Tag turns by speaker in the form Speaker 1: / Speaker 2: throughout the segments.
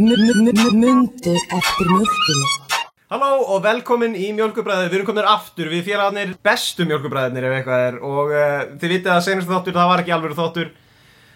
Speaker 1: Mundu eftir mjölkinu
Speaker 2: Halló og velkomin í Mjölkubræðið, við erum komin aftur, við félagarnir bestu Mjölkubræðinir ef eitthvað er og uh, þið vitið að senast þáttur, það var ekki alveg þáttur,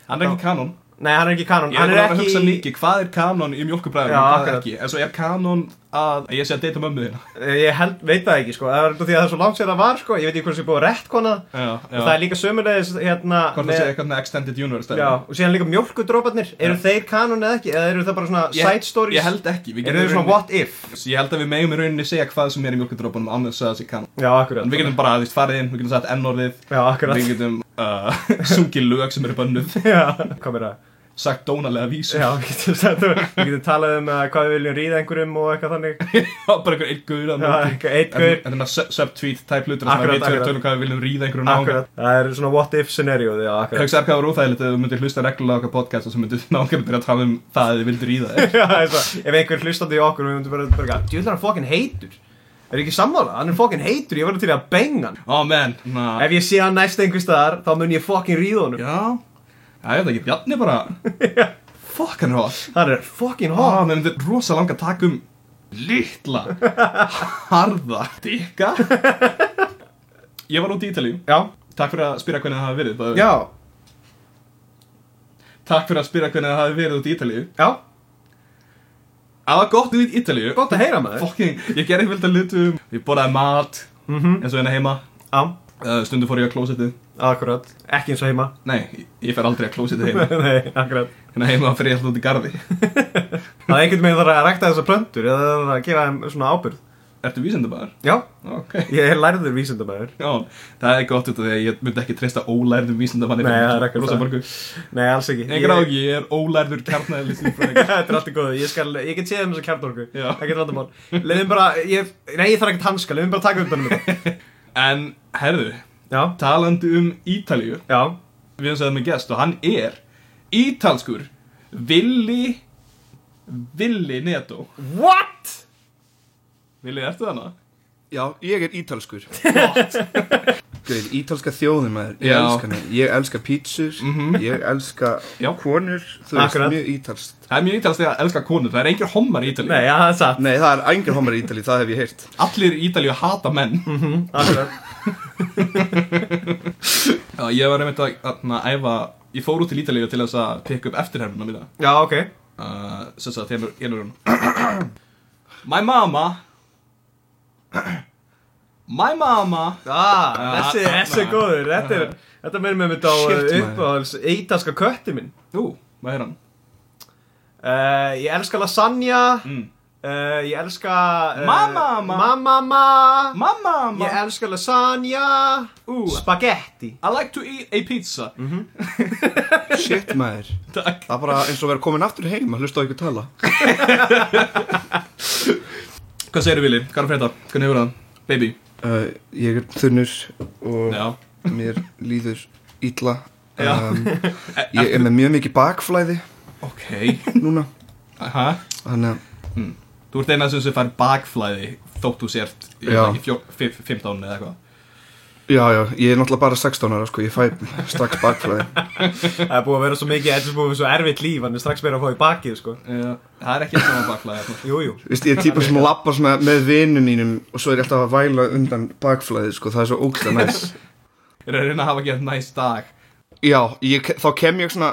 Speaker 3: Hann er ekki kanon
Speaker 2: nei hann er ekki kanon,
Speaker 3: Ég er
Speaker 2: hann er
Speaker 3: búin að vera að
Speaker 2: ekki,
Speaker 3: hugsa mikið Hvað er kanon í mjölkubræðinu
Speaker 2: Já,
Speaker 3: og hvað
Speaker 2: já.
Speaker 3: ekki En svo er kanon að að ég sé að deyta mömmu þína
Speaker 2: Eh, ég held, veit það ekki sko, það er út af því að það er svo langt sér það var sko, ég veit ekki hvernig sem er búið að rettkona
Speaker 3: Já,
Speaker 2: og það
Speaker 3: já
Speaker 2: er líka sömulegis hérna
Speaker 3: Hvort það sé eitthvað með extended universe dæmi.
Speaker 2: já, og síðan líka mjölkudróparnir, eru þeir kanon eða ekki, eða eru það bara svona
Speaker 3: Ég-
Speaker 2: side stories,
Speaker 3: Ég held ekki við
Speaker 2: eru
Speaker 3: getum
Speaker 2: þeir svona
Speaker 3: rauninni-
Speaker 2: what if,
Speaker 3: Ég held að við megum í rauninni segja hvað sem er í mjölkudrópunum án þess að það sé kanon
Speaker 2: já akkurat,
Speaker 3: En við getum bara, þú veist, farið inn, við getum sagt n-orðið
Speaker 2: já akkurat,
Speaker 3: Við getum uh, sungið lög sem eru bönnuð
Speaker 2: já, hvað er það?
Speaker 3: Sagt dónalega vísur
Speaker 2: Já, við getum, sagt, við getum talað um uh, hvað við viljum ríða einhverjum og eitthvað þannig
Speaker 3: Bara einhver einn gaur
Speaker 2: Já, eitthvað einn gaur.
Speaker 3: Þetta er svona sub- subtweet type hlutur þar sem
Speaker 2: Akkurat,
Speaker 3: Við tölum-
Speaker 2: akkurat.
Speaker 3: tölum hvað við viljum ríða einhverju náunga
Speaker 2: Akkurat, það er svona what if scenario Já,
Speaker 3: Ég
Speaker 2: akkurat
Speaker 3: hugsaði hvað var óþægilegt ef þú myndir hlusta reglulega á okkar podcast og svo myndir nákvæmlega byrja að tala um það að þið vildir í það
Speaker 2: Já, það er svo, Ef einhver hlustandi í okkur, við myndum bara, bara Djúlar hann fokkin heitur Er ekki sammála? Hann er fokkin heitur, ég verður til að benga hann
Speaker 3: Ó menn, na
Speaker 2: Ef ég sé hann næst einhver staðar, þá mun ég fokkin ríða honum
Speaker 3: Já, já ég veit ekki, Bjarni bara Fuck hann er hot
Speaker 2: Það er fokkin
Speaker 3: Ó,
Speaker 2: hot
Speaker 3: mér myndir rosa langa taka um litla, harða, dikka Ég var út í Ítalíu
Speaker 2: Já,
Speaker 3: Takk fyrir að spyrja hvernig það hafi verið það
Speaker 2: já,
Speaker 3: Takk fyrir að spyrja hvernig það hafi verið út í Ítalíu
Speaker 2: já
Speaker 3: Það var gott út í Ítalíu
Speaker 2: Gott að heyra maður
Speaker 3: Fucking, ég gerði fylgta hlutum Ég borðaði mat,
Speaker 2: Mhm.
Speaker 3: eins og hérna heima
Speaker 2: Já,
Speaker 3: Uh, Stundum fór ég á klósettið
Speaker 2: akkurat Ekki eins og heima
Speaker 3: Nei, ég- ég fer aldrei að klósita heima
Speaker 2: Nei, akkurat
Speaker 3: Hérna heima fer ég alltaf út í garði
Speaker 2: Það er einhvern veginn þarf að rækta þessar plöntur eða það þarf að gefa þeim svona ábyrgð
Speaker 3: Ertu vísindabæðar?
Speaker 2: Já,
Speaker 3: Ok
Speaker 2: Ég er lærður vísindamæður
Speaker 3: Já, það er gott út af því að ég myndi ekki treysta ólærðum vísindabæðar
Speaker 2: Nei, það er ekkert það.
Speaker 3: það
Speaker 2: Nei, alls ekki
Speaker 3: Engar á ekki, ég er ólærður kjarnæðilisinn
Speaker 2: Þetta er allt í góðu, ég, skal, ég get séð um þessu kjarnorku
Speaker 3: Já.
Speaker 2: Ekkert vandamál Leðum bara, ég, nei ég þarf ekkert hanska, leðum bara að taka undan um þetta
Speaker 3: En, herðu,
Speaker 2: Já,
Speaker 3: talandi um Ítalíu
Speaker 2: já,
Speaker 3: Við erum sæðið með gest og hann er Ítalskur Villi Villi Neto
Speaker 2: what?
Speaker 3: Villi, ertu þarna?
Speaker 4: Já, ég er ítalskur Greið, ítalska þjóðin maður Ég
Speaker 3: Já.
Speaker 4: elska hana, ég elska pítsur Ég elska
Speaker 3: Já.
Speaker 4: konur Þú veist,
Speaker 2: Akkurat.
Speaker 4: mjög ítalskt
Speaker 3: Það er mjög ítalskt þegar að elska konur, það er engir hommar í Ítalíu
Speaker 2: Nei, já, það er satt
Speaker 4: Nei, það er engin homar í Ítali, það hef ég heyrt
Speaker 3: Allir í Ítalíu hata menn
Speaker 2: Akkurat.
Speaker 3: Já, ég var einmitt að þarna, æfa Ég fór út til Ítalíu til þess að pikka upp eftirhermuna mína
Speaker 2: Já, ok
Speaker 3: uh, Sess að þér er hún My mama My mama
Speaker 2: ah, Þessi,
Speaker 3: þarna.
Speaker 2: þessi er góður, þetta er Þetta meður með mitt á eh,
Speaker 3: Shit, maður.
Speaker 2: uppáhalds Eitalska kötti minn
Speaker 3: Ú, hvað er hann?
Speaker 2: uh, Ég elska lasagna
Speaker 3: Mm.
Speaker 2: uh, Ég elska uh,
Speaker 3: Mamma, ma-
Speaker 2: Mamma ma.
Speaker 3: My mama
Speaker 2: Ég elska lasagna
Speaker 3: Ú,
Speaker 2: Spagetti
Speaker 3: I like to eat a pizza
Speaker 4: Shit maður
Speaker 3: Takk
Speaker 4: Það er bara eins og vera komin aftur heim að hlusta á ykkur tala
Speaker 3: Hvað segirðu Vili? Hvað er að frétta? Hvernig hefur það? Baby
Speaker 4: uh, Ég er þunnur og
Speaker 3: Já
Speaker 4: mér líður ítla
Speaker 3: Já.
Speaker 4: um, Ég er með mjög mikið bakflæði
Speaker 3: Ok
Speaker 4: núna
Speaker 3: Aha
Speaker 4: Þannig að
Speaker 3: Þú ert eina sem sem fær bakflæði þótt þú sért ég veit
Speaker 4: Já.
Speaker 3: ekki, fjó- fif- 15 eða eitthvað
Speaker 4: Já, já, ég er náttúrulega bara 16 ára, sko, ég fæ strax bakflæði
Speaker 2: Það er búið að vera svo mikið, þetta er búið að vera svo erfitt líf Hann er strax meira að fá í bakið, sko
Speaker 3: Já, Það er ekki eins og hann bakflæði þarna.
Speaker 2: Jú, jú
Speaker 4: Vist, ég er típa sem lappa svona með vinnum mínum og svo er ég alltaf að væla undan bakflæði, sko, það er svo ógæðlega næs.
Speaker 3: Ég er að reyna að hafa gett næst dag
Speaker 4: Já, ég, þá kem ég svona,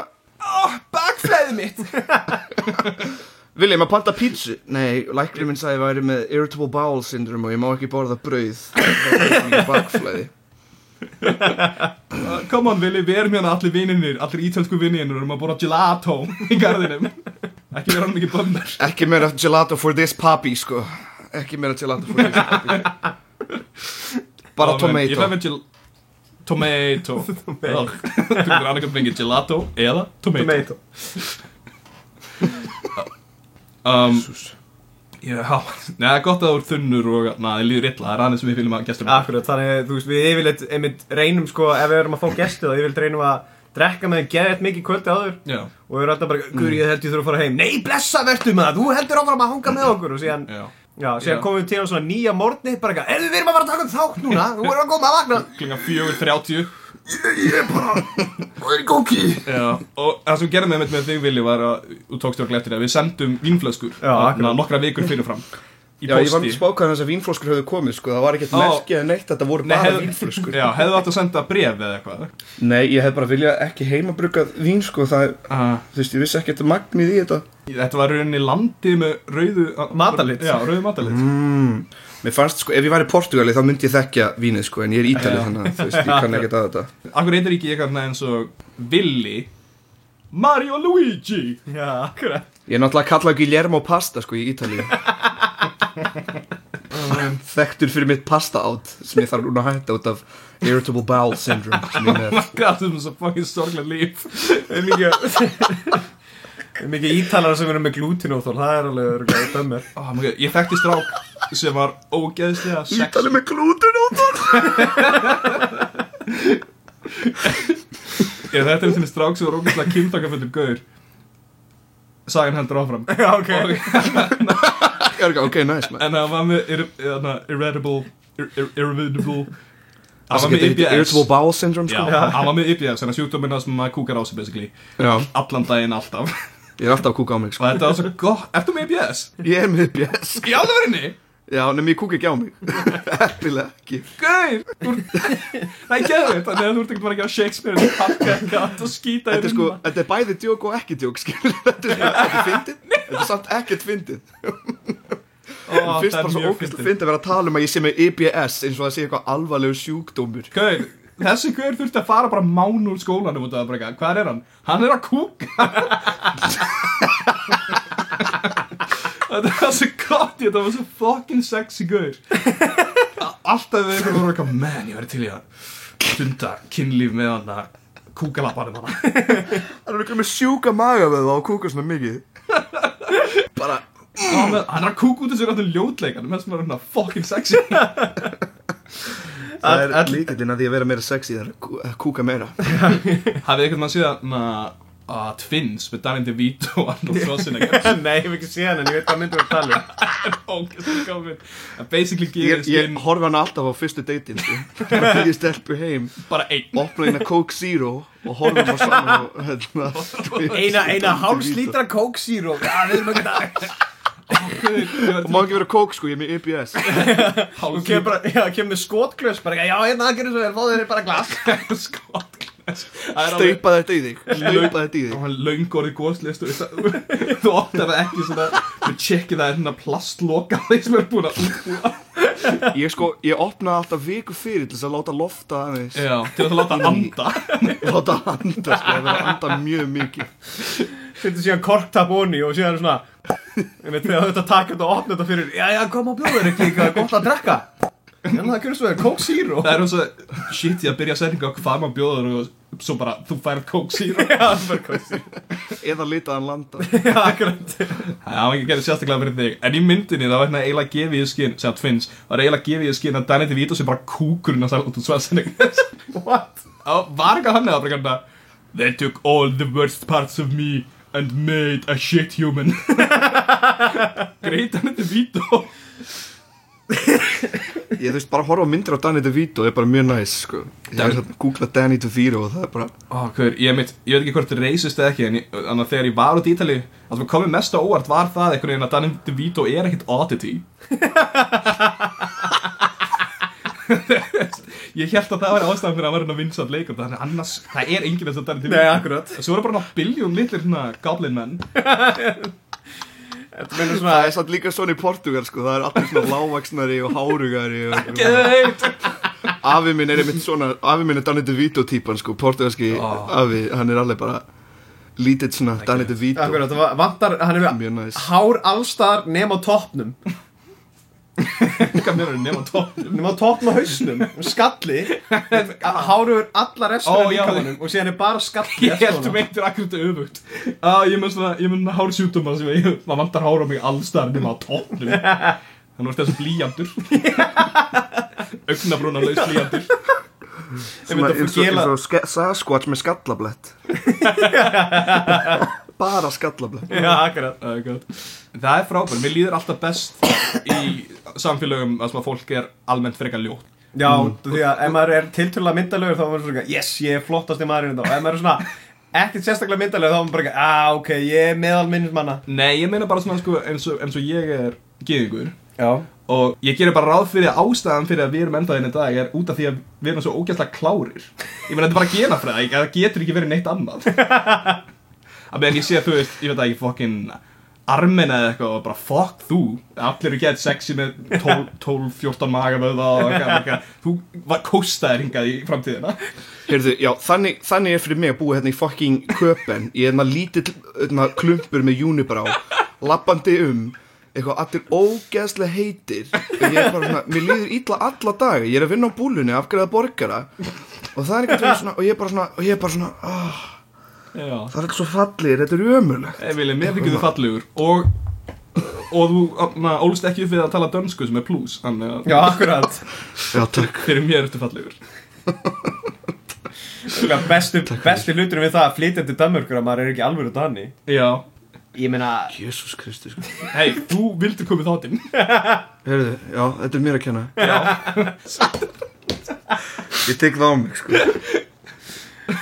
Speaker 3: Bakflæði Ah, mitt
Speaker 4: Viljum að panta pítsu? Nei, læknir minn sagði að ég væri með irritable bowel syndrome og ég má ekki borða brauð. Það er mikið bakflæði.
Speaker 3: Uh, Come on Vili, við erum hérna allir vininir, allir ítölsku vininir og erum að bóra gelato í garðinum Ekki vera hann mikið bömmar
Speaker 4: Ekki meira gelato for this puppy, sko. Ekki meira gelato for this puppy. Bara
Speaker 3: Ég fæ
Speaker 4: tomato.
Speaker 3: með gel... Tomato Ugh. Þú verður annað fengið gelato eða tomato,
Speaker 2: Tomato
Speaker 3: um, Já, neða, gott að þú er þunnur og na, það líður illa, það er aðeins sem við fylgum að gestur
Speaker 2: Akkurat, þannig þú veist, við yfirleitt einmitt reynum sko, ef við erum að fá gesti þá yfirleitt reynum að drekka með þeim geðið mikið kvöldi áður
Speaker 3: Já,
Speaker 2: og við erum alltaf bara, guður ég held ég þurfa að fara heim Nei, blessa vertu með það, þú heldur áfram að hanga með okkur og síðan,
Speaker 3: já,
Speaker 2: já, síðan
Speaker 3: Já.
Speaker 2: komum við til á svona nýja morgni, bara eitthvað, erum við erum að fara að taka upp þátt núna, þú erum að koma að vakna
Speaker 3: klinga 4.30
Speaker 4: Það er góki
Speaker 3: Já, og það sem við gerðum einmitt með þig Vili var að, þú tókst okkur eftir að við sendum vínflöskur
Speaker 2: Já, akkurat.
Speaker 3: nokkra vikur fyrir fram í
Speaker 4: Já, ég var
Speaker 3: posti
Speaker 4: með spákaðan þess að vínflöskur höfðu komið, sko, það var ekkert
Speaker 3: Ó.
Speaker 4: merkið eða neitt, þetta voru
Speaker 3: Nei,
Speaker 4: bara
Speaker 3: hefðu-
Speaker 4: vínflöskur.
Speaker 3: Já, hefðu átt að senda bref eða eitthvað
Speaker 4: Nei, ég hef bara viljað ekki heimabruggað vín, sko, það, er-
Speaker 3: uh,
Speaker 4: þú veist, ég vissi ekkert magnið í þetta.
Speaker 3: Þetta var rauninni landið með rauðu
Speaker 2: Matalit.
Speaker 3: Já, rauðu matalit
Speaker 4: Mér fannst, sko, ef ég var í Portugali þá myndi ég þekkja vínið, sko, en ég er ítalið
Speaker 3: Já.
Speaker 4: þannig, að, þú veist, ég kann ekkert að þetta.
Speaker 3: Akkur heitir ekki eitthvað svona eins og Vili Mario Luigi
Speaker 2: Já, akkurat
Speaker 4: Ég er náttúrulega kallað Guillermo Pasta, sko, í ítalið. Þekktur fyrir mitt pasta átt, sem ég þarf núna að hætta út af Irritable Bowel Syndrome, sem ég er með.
Speaker 3: Gætum þessum svo fucking sorglega líf
Speaker 2: Er mikið, er mikið ítalara sem eru með glútinóþól, það er alveg örugglega í dömur
Speaker 3: oh, God, Ég þekkti strák sem var ógeðslega sex
Speaker 4: Ítalið með glúten út af.
Speaker 3: Ég þetta er þessum strák sem var ógeðslega kynntakafullur gaur Sagan hendur áfram
Speaker 2: Já, ok
Speaker 3: Og
Speaker 4: Ok, nice, man.
Speaker 3: En það var með ir, hana, irritable ir, ir, Irritable Það
Speaker 4: Það
Speaker 3: var
Speaker 4: sem
Speaker 3: með
Speaker 4: getur heitir
Speaker 3: IBS
Speaker 4: Irritable Bowel Syndrome,
Speaker 3: Já,
Speaker 4: sko.
Speaker 3: það var með IBS Þannig að sjúkdóminna sem maður kúkar á sig basically
Speaker 4: Já,
Speaker 3: Allan daginn alltaf Og
Speaker 4: ég er alltaf að kúka á mig, sko.
Speaker 3: þetta var svo gott Ertu með IBS?
Speaker 4: Ég er með IBS
Speaker 3: Í alvörinni?
Speaker 4: Já, nefnum ég kúk ekki á mig Heppilega ekki
Speaker 3: Gauð Það er geðvitt Þannig að þú ert ekkert bara ekki á Shakespeare Það pakka ekki allt og hérna. skýta
Speaker 4: Þetta er sko, þetta er bæði djók og ekki djók skilur. Þetta er svona, þetta er fyndið Þetta er samt ekkert fyndið
Speaker 3: Það
Speaker 4: Fyrst bara svo ógæst að fyndið að vera að tala um að ég sé með IBS eins og að sé eitthvað alvarlegur sjúkdómur
Speaker 3: Gauð Þessi gauður þurfti að fara bara mánu úr skólanum út af það bara eitthvað. Hvað er hann? Hann er að kúka Þetta var svo gott Þetta var svo fucking sexy gauður Alltaf við einhvern voru eitthvað Man, ég verði til í að Stunda kynlíf með hann að Kúkalappanum hann
Speaker 4: Það eru eitthvað með sjúka maga með það og kúka svona mikið Bara,
Speaker 3: Já, með, hann er að kúka út þessu ráttu ljótleikan menn sem er hann að fucking sexy
Speaker 4: það er líkillinn að því að vera meira sexy Það er að kú- að kúka meira
Speaker 3: hafið eitthvað mann síðan na, uh, Twins með Danny DeVito og Arnold Schwarzenegger
Speaker 2: Nei, ég hef ekki séð hann en ég veit hvað myndum við að tala um
Speaker 3: ógeðslega gaman. að basically
Speaker 4: Ég,
Speaker 3: gerist
Speaker 4: ég
Speaker 3: inn
Speaker 4: horfa hana alltaf á fyrstu sko. deytin Þegar ég stelpu heim
Speaker 3: bara einn
Speaker 4: Opna hérna Coke Zero Og horfa hana saman og, hérna,
Speaker 2: Eina, eina hálfs lítra kóksýró Já, við erum ekki það
Speaker 4: Það má ekki vera kók sko, ég er með IBS
Speaker 2: Þú kemur bara, já, kemur með skotglös bara, já, hérna, það gerir svo vel, fáðu þér bara glas
Speaker 3: skotglas Það er alveg-
Speaker 4: Steipa þetta í þig, steipa þetta í
Speaker 3: og
Speaker 4: þig
Speaker 3: hann löngorði góðslist þú opnar það ekki svona þú tjekkið það er hérna plastloka þeir sem er búin að útbúa
Speaker 4: Ég sko, ég opnaði alltaf viku fyrir til þess að láta lofta aðeins
Speaker 3: Já, til að láta anda
Speaker 4: Láta anda sko, það verður að anda mjög mikið
Speaker 2: Setur síðan korktapp onni og síðan svona Ég veit, þegar þú ert að taka þetta og opna þetta fyrir Já, já, kom á bjóður ekki, það er gott að drekka Hérna, það gerir svo vel, kóksýró
Speaker 3: Það er hans að shit ég að byrja setninga á hvað maður bjóður og svo bara þú færð kók síra
Speaker 2: Já, það er bara kóksýró
Speaker 4: Eða lita hann landa
Speaker 2: Já, akkurat
Speaker 3: Það var ekki gerðið sérstaklega fyrir þig En í myndinni það var hérna eiginlega gefið í skinn sem að tvinns var eiginlega gefið í skinn að Danny DeVito sem bara kúkurinn að sæla út úr svarsenning
Speaker 2: What?
Speaker 3: Það var eitthvað hann eða bara eitthvað They took all the worst parts of me and made a shit human Greit Danny DeVito
Speaker 4: Ég þú veist, bara horfa á myndir á Danny DeVito er bara mjög næs sko Ég
Speaker 3: Dan-
Speaker 4: er að googla Danny DeVito og það er bara
Speaker 3: Ó, hver, ég, mitt, ég veit ekki hvort reysist eða ekki en ég, annað, þegar ég var út í Ítali það sem komið mest á óvart var það einhvern veginn að Danny DeVito er ekkert oddity ég held að það var ástæðan fyrir að vera hann að vinsa að leikur þannig annars, það er enginn þess að Danny
Speaker 2: Nei,
Speaker 3: DeVito
Speaker 2: akkurat
Speaker 3: svo eru bara hann biljón litlir svona goblin menn
Speaker 2: Þetta minnur svona
Speaker 4: Það er samt líka svona í Portugal sko, það er allir svona lágvaksnari og hárugari og...
Speaker 3: Geit!
Speaker 4: Afi minn er einmitt svona, afi minn er Danny DeVito típan sko, portugalski
Speaker 3: Ó.
Speaker 4: afi, hann er alveg bara lítill svona Danny DeVito
Speaker 2: Akkurat, það va- vantar, hann er
Speaker 4: Mjög
Speaker 2: með
Speaker 4: næs.
Speaker 2: hár allstar nema á toppnum
Speaker 3: Hvað mér er nema tótt?
Speaker 2: nema topn á hausnum, um skalli hárur allar
Speaker 3: Ó,
Speaker 2: restur í
Speaker 3: já.
Speaker 2: líkamanum og síðan er bara skalli
Speaker 3: Ég held meintur akkurat öfugt ah, Ég mun svona, ég mun hár sjúkdóma sem ég, það vantar hár á mig allstar nema á tóknum Þannig var þessi blíjandur Augnabrúna laus blíjandur
Speaker 4: Sem að-
Speaker 2: myndi að
Speaker 4: eins og-
Speaker 2: gela-
Speaker 4: eins og ske- Sasquatch með skallablett bara skallablett
Speaker 2: já, akkurat
Speaker 3: Það er gott. Það er frábært, mér líður alltaf best í samfélögum að svona fólk er almennt frekar ljótt
Speaker 2: Já,
Speaker 3: Mm.
Speaker 2: því að ef maður er tiltölulega myndalögur þá er maður svona, yes, ég er flottast í maðurinn þá, ef maður er svona ekkert sérstaklega myndalögur þá er maður bara, ekki, ah, ok, ég er meðal minnismanna
Speaker 3: Nei, ég meina bara svona sko, eins, og, eins og ég er geðingur
Speaker 2: Já,
Speaker 3: Og ég gerir bara ráð fyrir að ástæðan fyrir að við erum endaðin í dag er út af því að við erum svo ógæslega klárir. Ég meina, þetta er bara genafræði, það getur ekki verið neitt annað. að meðan ég sé að þú veist, ég veit að ég fokkin armina eða eitthvað og bara fuck þú. Allir eru gett sexy með 12-14 magavöða og eitthvað. eitthvað. Þú var kóstaðir hingað í framtíðina.
Speaker 4: Heyrðu, já, þannig, þannig er fyrir mig að búa hérna í fucking köpen ég er maður lítill hérna, klumpur með júnibrá lappandi um eitthvað allir ógeðslega heitir og ég er bara svona, mér líður illa alla daga ég er að vinna á búlunni, afgreða borgara og það er einhvern veginn svona og ég er bara svona, og ég er bara svona oh,
Speaker 3: Já.
Speaker 4: það er allt svo fallir, þetta er ömurlegt
Speaker 3: Emilin, Eh, mér þykir þú fallegur og, og þú na, ólst ekki upp við að tala dönsku sem er plus. Þannig að
Speaker 2: já, akkurat
Speaker 4: já, takk
Speaker 3: fyrir mér ertu fallegur.
Speaker 2: Svona, Bestu, bestu hluturinn við það að flytja til Danmörkur að maður er ekki alvöru danni
Speaker 3: Já.
Speaker 2: Ég meina,
Speaker 4: Jésús Kristus
Speaker 3: Hei, þú vildir komið þáttinn
Speaker 4: Heyrðu, já, þetta er mér að kenna Ég tek það á mig, sko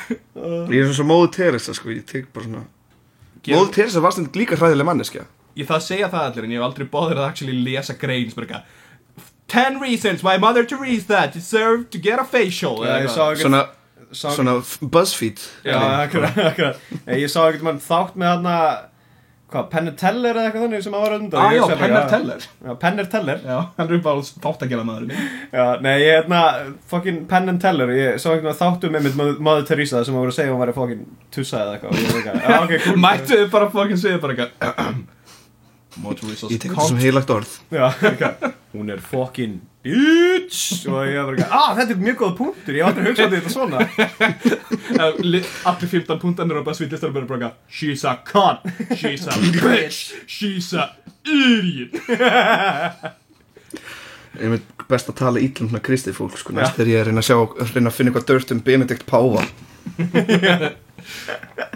Speaker 4: Ég er svona svo móðu Teresa, sko Ég tek bara svona Móðu Teresa var stund líka hræðileg manneskja
Speaker 3: Ég það segja það allir en ég hef aldrei bóðir að actually lesa grein sem er eitthvað 10 reasons why Mother Teresa deserved to get a facial
Speaker 2: Já, ég sá ekkert
Speaker 4: Svona,
Speaker 2: sá,
Speaker 4: svona f- BuzzFeed
Speaker 2: Já, akkurat, akkurat Nei, Ég sá ekkert mann þátt með þarna Hvað, Penner Teller eða eitthvað þannig sem að var undan
Speaker 3: Ah,
Speaker 2: Ég
Speaker 3: já,
Speaker 2: hugsaði bara,
Speaker 3: Penner
Speaker 2: já.
Speaker 3: Teller
Speaker 2: Já, Penner Teller
Speaker 3: Já, hann er bara þátt að gera maðurinn minn
Speaker 2: Já, nei, ég hérna, fokkin Penn and Teller, ég sá einhvern veginn þáttum einmitt Mother- Mother Teresa sem að voru að segja að hún væri fokkin tussa eða eitthvað, og ég veit ekki, já, ok, cool
Speaker 3: Mættu þið bara fucking segja bara eitthvað Mother Teresa's
Speaker 4: Ég tek þetta sem
Speaker 3: cock
Speaker 4: heilagt orð
Speaker 2: Já, eitthvað, hún er fokkin bitch, og ég var eitthvað, ah, þetta er mjög góða punktur, ég átti að hugsa þetta svona
Speaker 3: Eh, li- Allir 15 púntanir á bara svítlistar bara bara eitthvað She's a cunt, she's a bitch, she's a idiot
Speaker 4: Ég veit best að tala ítlum svona kristið fólk, sko Næst þegar ég er að reyna að sjá að Reyna að finna eitthvað dört um Benedikt Páfa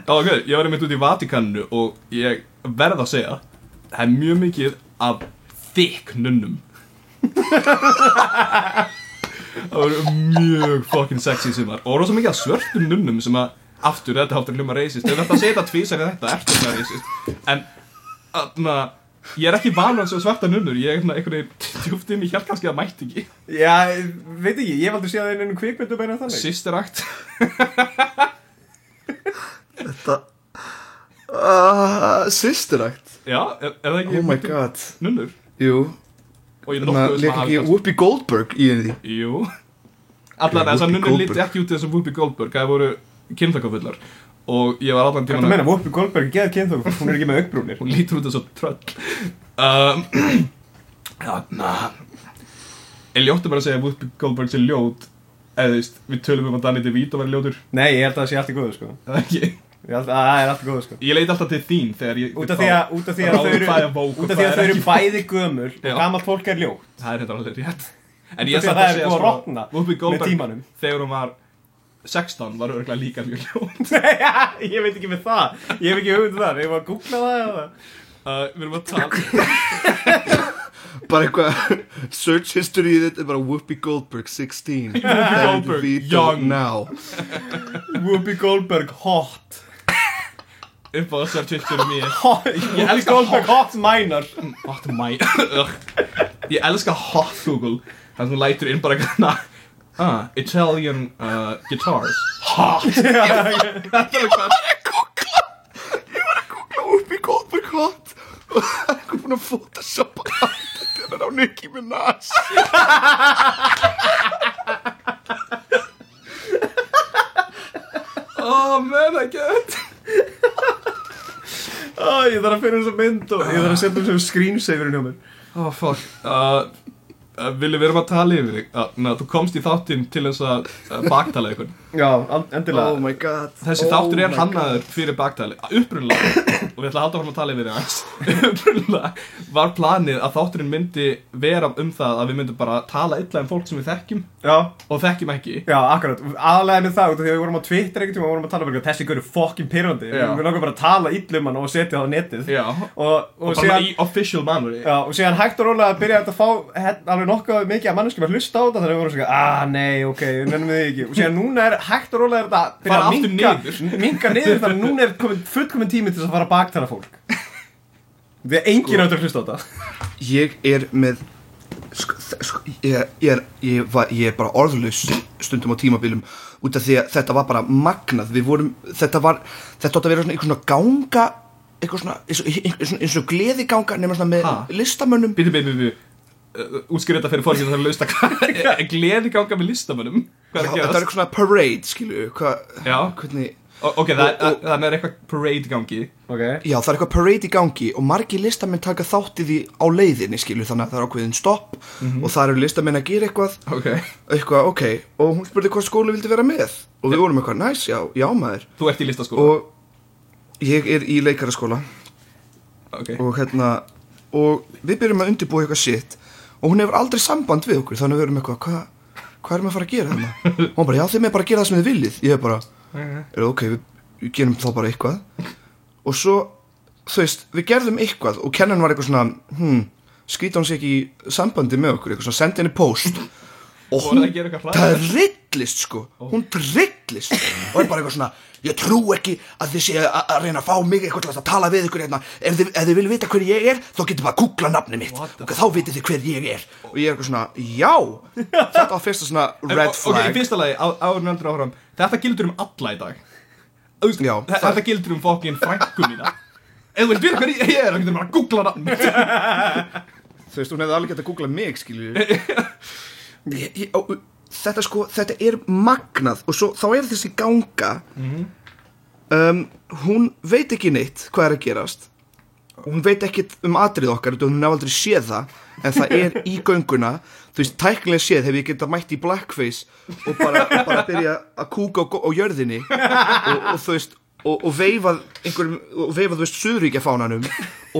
Speaker 3: Já, ok, ég var einmitt út í Vatikaninu og ég verð að segja það er mjög mikið af þykk nunnum Það voru mjög fucking sexy sumar og rosa mikið af svörtum nunnum sem að aftur þetta háttur hljóma reisist ef þetta segja þetta tvísar en þetta ertu hljóma reisist en þarna ég er ekki vanur að sjá svarta nunnur ég er svona einhvern veginn djúft inn í hjálp kannski að mætti ekki
Speaker 2: Já, veit ekki, ég hef aldrei séð það einu kvikmyndu beina þannig
Speaker 3: Sisterakt
Speaker 4: Þetta uh, Systerakt
Speaker 3: Já, er, er það ekki
Speaker 4: Oh my
Speaker 3: myndin-
Speaker 4: god
Speaker 3: nunnur
Speaker 4: Jú,
Speaker 3: og ég er
Speaker 4: þannig
Speaker 3: nokkuð
Speaker 4: að
Speaker 3: sem að
Speaker 4: leika
Speaker 3: hafi
Speaker 4: ekki
Speaker 3: kannski-
Speaker 4: Whoopi Goldberg í henni
Speaker 3: Jú Allar þessar
Speaker 4: Whoopi
Speaker 3: nunnur líti
Speaker 4: Goldberg.
Speaker 3: ekki út í þessum Whoopi Goldberg Það voru kynþakafullar Og ég var allan
Speaker 2: Hvað það
Speaker 3: tíman
Speaker 2: meina, Whoopi Goldberg geða kynþók, hún er ekki með augbrúnir
Speaker 3: Hún lítur út þessu tröll um, Þarna Ég ljótti bara að segja að Whoopi Goldberg sé ljót Eða þú veist, við tölum um að Danny DeVito væri ljótur
Speaker 2: Nei, ég held að það sé allt í góðu, sko
Speaker 3: Eða ekki
Speaker 2: Ég held að það er allt í góðu, sko
Speaker 3: Ég leit alltaf til þín þegar ég
Speaker 2: Út af því að, út af því að þau eru, út af því að þau eru bæði gömul og
Speaker 3: Já.
Speaker 2: gamalt fólk er ljótt
Speaker 3: Það er hérna alveg rétt
Speaker 2: Út
Speaker 3: En
Speaker 2: af því
Speaker 3: ég
Speaker 2: að
Speaker 3: satt
Speaker 2: það
Speaker 3: að
Speaker 2: er
Speaker 3: segja
Speaker 2: búið að
Speaker 3: sko,
Speaker 2: rotna
Speaker 3: Whoopi
Speaker 2: með
Speaker 3: Goldberg
Speaker 2: tímanum.
Speaker 3: Þegar hún var 16 var örgulega líka mjög ljót
Speaker 2: ég veit ekki með það Ég hef ekki hugmynd um það, við erum að googla það eða
Speaker 3: uh, Við erum að tala
Speaker 4: bara eitthvað search history þetta er bara Whoopi Goldberg 16 Danny
Speaker 3: Goldberg,
Speaker 4: DeVito,
Speaker 3: young.
Speaker 4: now
Speaker 2: Whoopi Goldberg hot
Speaker 3: upp á þessar tvistur mér
Speaker 2: Hot, Whoopi
Speaker 3: elska
Speaker 2: Goldberg hot minor
Speaker 3: Hot my Ugh. Ég elska hot Google Það sem hún lætur inn bara gana Ah, Italian uh, guitars Hot Þetta er hvað
Speaker 4: Whoopi Goldberg hot og það er eitthvað búin að photoshop þetta er á Nicki Minaj
Speaker 3: Oh man, I get
Speaker 2: oh, Ég þarf að finna þessa mynd og ég þarf að setja þessum screensaverin hjá mér
Speaker 3: Oh fuck uh, uh, Vili, við erum að tala yfir þig uh, na, Þú komst í þáttinn til þess að uh, baktala einhvern
Speaker 2: Já, an- endilega
Speaker 4: Oh my god
Speaker 3: Þessi
Speaker 4: oh
Speaker 3: þáttur er
Speaker 4: my god.
Speaker 3: hannaður fyrir baktali Upprunlega, og við ætlum að halda áfram að tala yfir það Upprunlega var planið að þátturinn myndi vera um það að við myndum bara tala illa um fólk sem við þekkjum
Speaker 2: Já,
Speaker 3: og þekkjum ekki
Speaker 2: já, akkurat Aðlega með það, út af því að við vorum á Twitter einhvern tíma og vorum að tala um að þessi gaur er fokkin pyrrandi
Speaker 3: Já.
Speaker 2: Við langar bara að tala illum hann og setja það á netið
Speaker 3: Já,
Speaker 2: Og, og,
Speaker 3: og bara
Speaker 2: síðan,
Speaker 3: í official manner
Speaker 2: já, og síðan hægt og rólega að byrja þetta að fá he- alveg nokkuð mikið að manneskjum að hlusta á þetta þannig að við vorum svona, að nei, ok, við nefnum við því ekki og síðan núna er hægt og rólega er þetta að byrja
Speaker 3: Fara
Speaker 2: að
Speaker 3: aftur
Speaker 2: minka
Speaker 3: niður.
Speaker 2: minka niður þannig að núna er komin, fullkomin tími til þess að fara að baktala fólk Því að enginn áttur að hlusta á þetta
Speaker 4: Ég er með sk, sk, ég, ég, er, ég, var, ég er bara orðlaus stundum á tímabilum út af því að þetta var bara magnað við vorum, þetta var, þetta átt að vera svona einhver svona ganga einhver svona, eins og- eins og- eins og gleðiganga nema svona með
Speaker 3: Ha?
Speaker 4: listamönnum
Speaker 3: Býtu, býtu, býtu uh, Útskýr þetta fyrir fólkið það er lausta hvað Eh, Gleði ganga með listamönnum Hvað er að
Speaker 4: þetta er
Speaker 3: gerast?
Speaker 4: eitthvað svona parade skilju hva,
Speaker 3: Já.
Speaker 4: hvernig,
Speaker 3: O- Ok, það
Speaker 4: og-
Speaker 3: er- þannig er eitthvað parade gangi
Speaker 2: okay.
Speaker 4: já það er eitthvað parade í gangi og margir listamenn taka þátt í því á leiðinni skilju þannig að það er ákveðin stopp
Speaker 3: Mhm.
Speaker 4: og það eru listamenn að gera eitthvað
Speaker 3: Ok
Speaker 4: eitthvað ok og hún spurði hvað skóla vildi vera með og við vorum eitthvað næs já, já maður
Speaker 3: Þú ert í sko. listaskóla
Speaker 4: og ég er í leikaraskóla
Speaker 3: Ok
Speaker 4: og hérna og við byrjum að undirbúa eitthvað shit og hún hefur aldrei samband við okkur þannig að við erum eitthvað hvað hva erum við að fara að gera hérna og hún bara já þið með bara að gera það sem þið viljið ég er bara er ok við, við gerum þá bara eitthvað og svo þú veist við gerðum eitthvað og kennan var eitthvað svona hm, skrýta hún sér ekki í sambandi með okkur eitthvað svona sendi henni post og
Speaker 3: Voru
Speaker 4: hún
Speaker 3: það að gera eitthvað hræðilegt?
Speaker 4: það drillist sko hún drillist og er bara eitthvað svona ég trú ekki að þið séu að að reyna að fá mig eitthvað til að tala við ykkur hérna ef þið, ef þið viljið vita hver ég er þá getur bara að googla nafni mitt og þá vitið þið hver ég er og ég er eitthvað svona já þetta var fyrsta svona red
Speaker 3: Ok, í
Speaker 4: flag
Speaker 3: fyrsta lagi, á- áður en eldur áfram Þetta gildur um alla í dag Þú veist,
Speaker 4: Já,
Speaker 3: þe- Þetta gildur um fokkin frænku mína Ef þú vilt vita hver ég ég er, þá getur bara að googla hann
Speaker 4: þú veist hún hefði alveg gett að googla mig skilju ég, ég, og, þetta sko þetta er magnað og svo þá er þessi ganga um, hún veit ekki neitt hvað er að gerast og hún veit ekki um atrið okkar þú veist, hún hef aldrei séð það en það er í gönguna þú veist, tæknilega séð hef ég getað mætt í blackface og bara, og bara byrja að kúka á, go- á jörðinni og, og þú veist og, og veifað einhverjum og veifað þú veist suðuríkjafánanum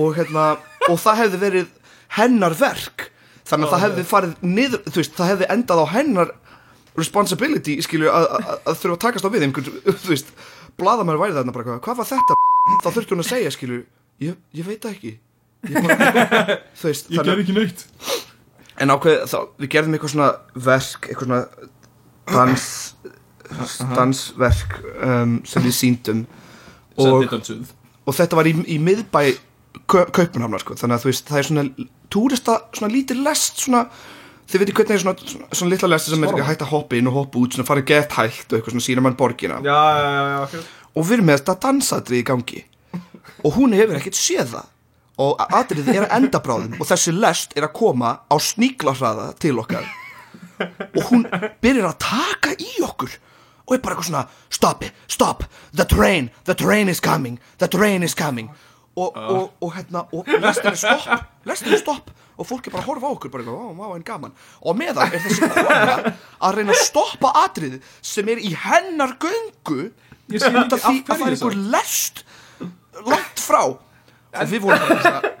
Speaker 4: og hérna og það hefði verið hennar verk þannig að það hefði farið niður þú veist, það hefði endað á hennar responsibility, skilju, að að- að þurfa að takast á við einhvern, þú veist, bladamæri væri þarna bara hvað, hvað var þetta, þá þurfti hún að segja, skilju, ég, ég veit það ekki, ég bara, þú veist,
Speaker 3: Ég ger ekki neitt
Speaker 4: en ákveð, þá, við gerðum eitthvað svona verk, eitthvað svona dans, dansverk um, sem við síndum
Speaker 3: Sætti
Speaker 4: og,
Speaker 3: þetta um suð
Speaker 4: og þetta var í, í miðbæ Kau- Kaupmannhafnar, sko, þannig að þú veist, það er svona túrista, svona lítið lest, svona, þið veitir hvernig er svona, svona, svona litla lesti sem er hægt að hoppa inn og hoppa út, svona farið gett hægt og eitthvað svona sína mann borgina
Speaker 2: Já, já, já, já, akkurat
Speaker 4: og við erum með þetta dansatrið í gangi og hún hefur ekkert séð það og a- atriðið er að enda bráðum og þessi lest er að koma á sníklahraða til okkar og hún byrjar að taka í okkur og er bara eitthvað svona stop it, stop, the train, the train is coming the train is coming og, og, og hérna, og lestin er stopp lestin er stopp og fólk er bara að horfa á okkur bara eitthvað, vá, vá, en gaman og á meðan er þessi kona að reyna að stoppa atrið sem er í hennar göngu
Speaker 3: Ég skil
Speaker 4: út
Speaker 3: ekki
Speaker 4: af því
Speaker 3: af
Speaker 4: að það er
Speaker 3: hverju
Speaker 4: einhver
Speaker 3: þessu.
Speaker 4: lest langt frá og við vorum bara svona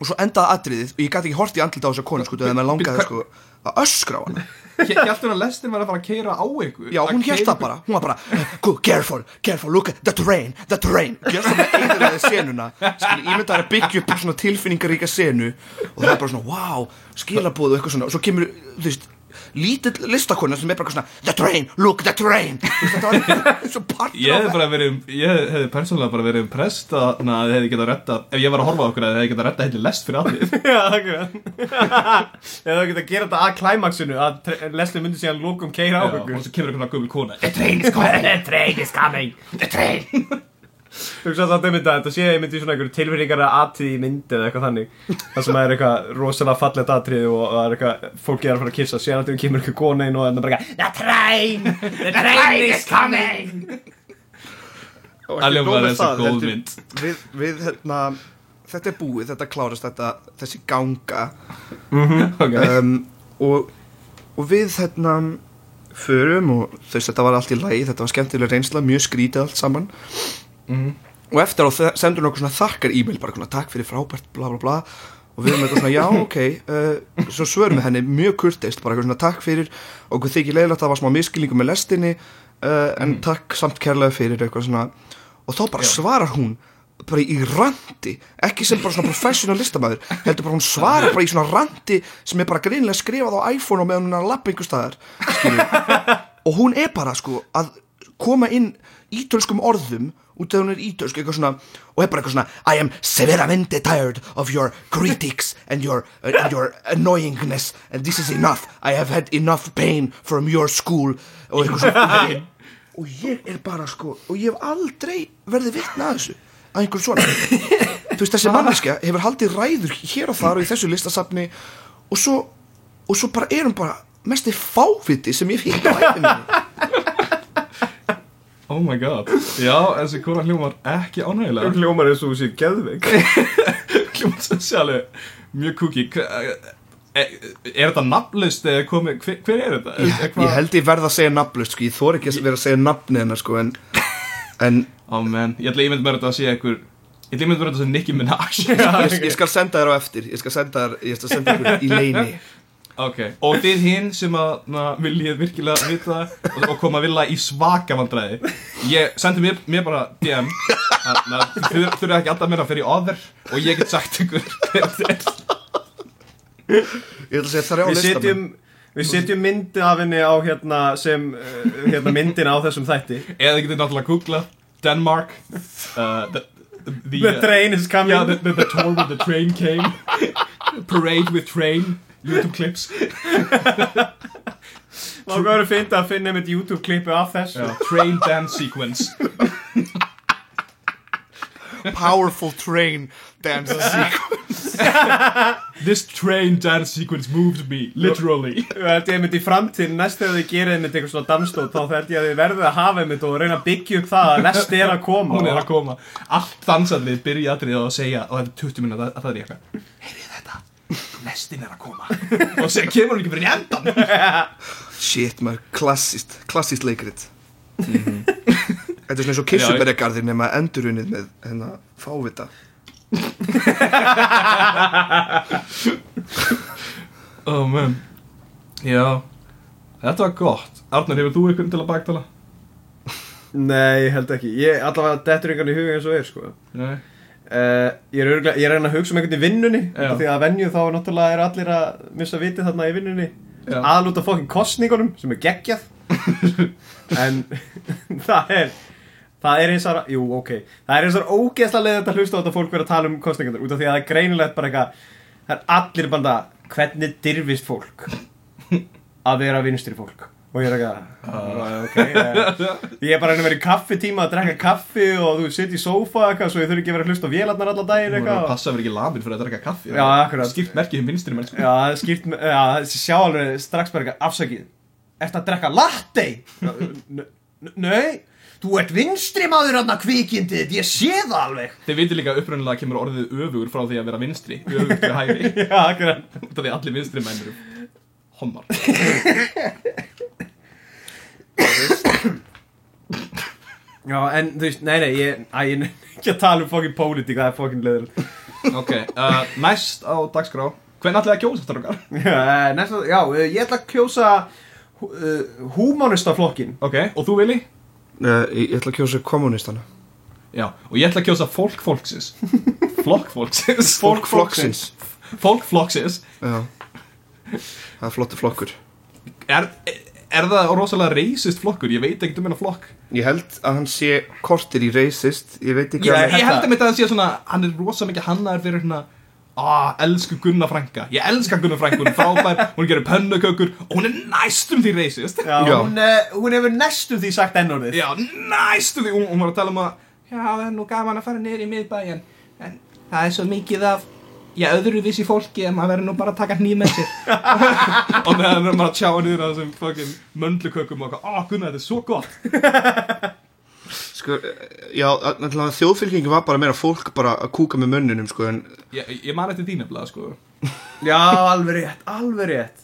Speaker 4: og svo endaði atriðið og ég gæti ekki hort í andlita á þessa konu sko, þegar maður langaði sko að öskra á hana
Speaker 3: Hjæltur að lestin var að fara að keira á ykkur
Speaker 4: Já, hún hélt það bara, hún var bara Go, careful, careful, look at the train, the train Gjörst það með eðurlega senuna Skil, ég myndi að byggja upp svona tilfinningaríka senu Og það er bara svona, wow, skilabóð og eitthvað svona Og svo kemur, þú veist, lítill listakona sem er bara eitthvað svona The train, look, the train Þú veist, Þetta var eins og partur
Speaker 3: Ég hefði
Speaker 4: af-
Speaker 3: bara verið, um- ég hefði persónulega bara verið impressed að na, þið hefði getað retta, ef ég var að horfa á okkur að þið hefði getað retta heilir lest fyrir allir
Speaker 2: Já, akkurat Eða þú getur að gera þetta að klæmaksinu að tre- Leslie myndi síðan lókum keira á
Speaker 3: Já,
Speaker 2: okkur
Speaker 3: og svo kemur einhverja gömul kona
Speaker 2: Train is coming The train Þú veist að þetta myndi að þetta sé ég myndi í svona einhverju tilfinningar að atrið í myndi eða eitthvað þannig Það sem er eitthvað rosalega fallegt atrið og það er eitthvað fólki er að fara að kissa síðan að þetta kemur eitthvað kona inn og þannig bara eitthvað, The train, the train is coming
Speaker 4: Og ekki
Speaker 3: Alveg
Speaker 4: nóg
Speaker 3: var
Speaker 4: með
Speaker 3: þessi
Speaker 4: það,
Speaker 3: góð
Speaker 4: heldur-
Speaker 3: mynd
Speaker 4: Við, við, hérna Þetta er búið, þetta klárast þetta Þessi ganga
Speaker 3: Ok,
Speaker 4: um, og, og við hérna förum og þú veist þetta var allt í lagi þetta var skemmtilega reynsla, mjög skrítið allt saman og eftir á þe- sendur hún okkur svona þakkar e-mail bara svona takk fyrir frábært bla bla bla og við erum eitthvað svona já ok uh, svo svörum við henni mjög kurteist bara eitthvað svona takk fyrir okkur þykir leiðilegt að það var smá miskilningu með lestinni uh, en takk samt kærlega fyrir eitthvað svona og þá bara svarar hún bara í randi, ekki sem bara svona professional listamæður, heldur bara hún svarar bara í svona randi sem er bara greinlega skrifað á iPhone og meðan hún er að lappa einhver staðar og hún er bara sko að koma inn ítölskum orðum út af hún er ítölsk eitthvað svona og er bara eitthvað svona I am severamente tired of your critics and your, uh, and your annoyingness and this is enough I have had enough pain from your school og eitthvað svona og ég er bara sko og ég hef aldrei verið vitna að þessu að einhver svona þú veist þessi manneskja hefur haldið ræður hér og þar og í þessu listasafni og svo, og svo bara erum bara mesti fáviti sem ég fík á æfinni
Speaker 3: Oh my god Já, þessi kona hljómar ekki ánægilega
Speaker 2: Hljómar eins og þú sé geðveik
Speaker 3: Hljómar sem sé alveg mjög kúki e- Er þetta nafnlaust eða komið hver, hver er þetta? Er- er
Speaker 4: ég,
Speaker 3: hvað-
Speaker 4: ég held ég verð að segja nafnlust sko. ég þor ekki að vera að segja nafni hennar sko, en, en
Speaker 3: Ó menn, ég ætla ímynd mér að þetta sé einhver Ég ætla ímynd mér að þetta sé Nicki Minaj
Speaker 4: ég, ég skal senda þér á eftir ég skal senda þér, ég skal senda þér í leini
Speaker 3: Ok, og þið hinn sem að na, viljið virkilega vita og, og koma að vilja í svaka vandræði Ég sendi mér, mér bara DM að na, þið þurfið ekki alltaf mér að fyrir other og ég get sagt ykkur hver þetta er.
Speaker 4: ég ætla að segja þrjá
Speaker 2: Við
Speaker 4: listamenn
Speaker 2: setjum Við setjum myndi af henni á hérna sem uh, hérna myndina á þessum þætti
Speaker 3: Eða þið getið náttúrulega googla Denmark uh, the, the,
Speaker 2: The train is coming
Speaker 3: yeah, the, the, the tour where the train came Parade with train YouTube clips
Speaker 2: Má verður fyndi að finna einmitt YouTube klippu af þessu
Speaker 3: uh, Train dance sequence
Speaker 4: powerful train dance
Speaker 3: This train dance sequence moved me, literally
Speaker 2: Ég held ég einmitt í framtíðin, næst þegar þið gerir einmitt einhver svona danstótt þá held ég að þið verðið að hafa einmitt og reyna að byggja upp það að næst er að koma
Speaker 3: Hún er að koma Allt dansallið byrja aðrið á að segja og þetta er 20 minúta að það er ég eitthvað Heyrið þetta? Lestin er að koma Og segja kemur hún ekki fyrir endan
Speaker 4: shit maður, klassist, klassist leikrit þetta er svona eins og kissubergarðir nema endurunnið með hennar fávita
Speaker 3: Oh man Já Þetta var gott Arnar, hefur þú ykkur til að baktala?
Speaker 2: Nei, ég held ekki, ég allavega dettur yngan í huga eins og er sko
Speaker 3: Nei
Speaker 2: Uh, ég er örgulega, ég er að reyna að hugsa um einhvern í vinnunni
Speaker 3: Já.
Speaker 2: af því að venju þá er náttúrulega er allir að missa viti þarna í vinnunni
Speaker 3: Já.
Speaker 2: aðlúta fokkin kostningunum sem er geggjað en það er það er eins og, jú ok það er eins og ógeðslega leið að hlusta á þetta fólk vera að tala um kostningunum út af því að það er greinilegt bara eitthvað það er allir bara það, hvernig dyrfist fólk að vera vinstri fólk og ég er
Speaker 3: Ah.
Speaker 2: eitthvað uh, ok, eh, Ég er bara að reyna að vera í kaffitíma að drekka kaffi og þú sitt í sófa eitthvað svo ég þurfi ekki að vera að hlusta á vélarnar alla daginn
Speaker 3: Þú verður að
Speaker 2: eitthvað.
Speaker 3: passa að vera ekki lamin fyrir að drekka kaffi
Speaker 2: Já, akkurat.
Speaker 3: Skipt merkið um vinstri menn
Speaker 2: Já, það er skýrt, með- já, það sjá alveg strax bara eitthvað afsakið. Ertu að drekka latte? N- n- Nei, þú ert vinstri maður hann að kvikindið, ég sé það alveg.
Speaker 3: Þið veitir líka að upprunnilega kemur orðið öfugur frá því að vera vinstri Öfugt við hægri
Speaker 2: Já, akkurat.
Speaker 3: Það er allir vinstri menn eru Hommar
Speaker 2: Já, en þú veist, nei, nei, ég, æ, ég nenni ekki að tala um fokkin pólitík, það er fokkin leður.
Speaker 3: Ok, uh, næst á dagskrá Hvernig ætlaði að kjósa þetta okkar?
Speaker 2: Já, eh, næsta, já, ég ætla að kjósa eh, uh, húmanustaflokkin.
Speaker 3: Ok, og þú Vili?
Speaker 4: uh, ég, ég ætla að kjósa kommunistana
Speaker 3: Já, og ég ætla að kjósa fólk fólksins Flokk fólksins
Speaker 4: fólk flokksins
Speaker 3: Fólk flokksins
Speaker 4: Já. það er flottu flokkur
Speaker 3: er, er það rosalega racist flokkur? Ég veit ekkert um hennar flokk
Speaker 4: Ég held að hann sé kortir í racist Ég veit ekki
Speaker 3: Ég,
Speaker 4: alveg-
Speaker 2: held
Speaker 3: ég held
Speaker 2: það.
Speaker 3: að mitt að það sé svona Hann er rosalega mikið hannaður fyrir hérna Ah, elsku Gunnar Franka Ég elska Gunnar Franka, hún er frábær Hún gerir pönnukökur og hún er næstum því racist
Speaker 2: Já,
Speaker 4: Já.
Speaker 2: Hún, uh, hún hefur næstum því sagt ennordið.
Speaker 3: Já, næstu því, hún, hún var að tala um að Já, það er nú gaman að fara niður í miðbæjan En það er svo mikið af Já, öðruvísi fólki En maður verður nú bara að taka hný með sér Og meðan er maður að tjá niður að þessum fucking möndlukökum og eitthvað Á, Gunnar, þetta er svo gott
Speaker 4: sko, Já, náttúrulega þjóðfylgingin var bara meira fólk bara að kúka með mönnunum sko, en
Speaker 3: Ég, ég man eftir þín nefnilega, sko
Speaker 2: Já, alveg rétt, alveg rétt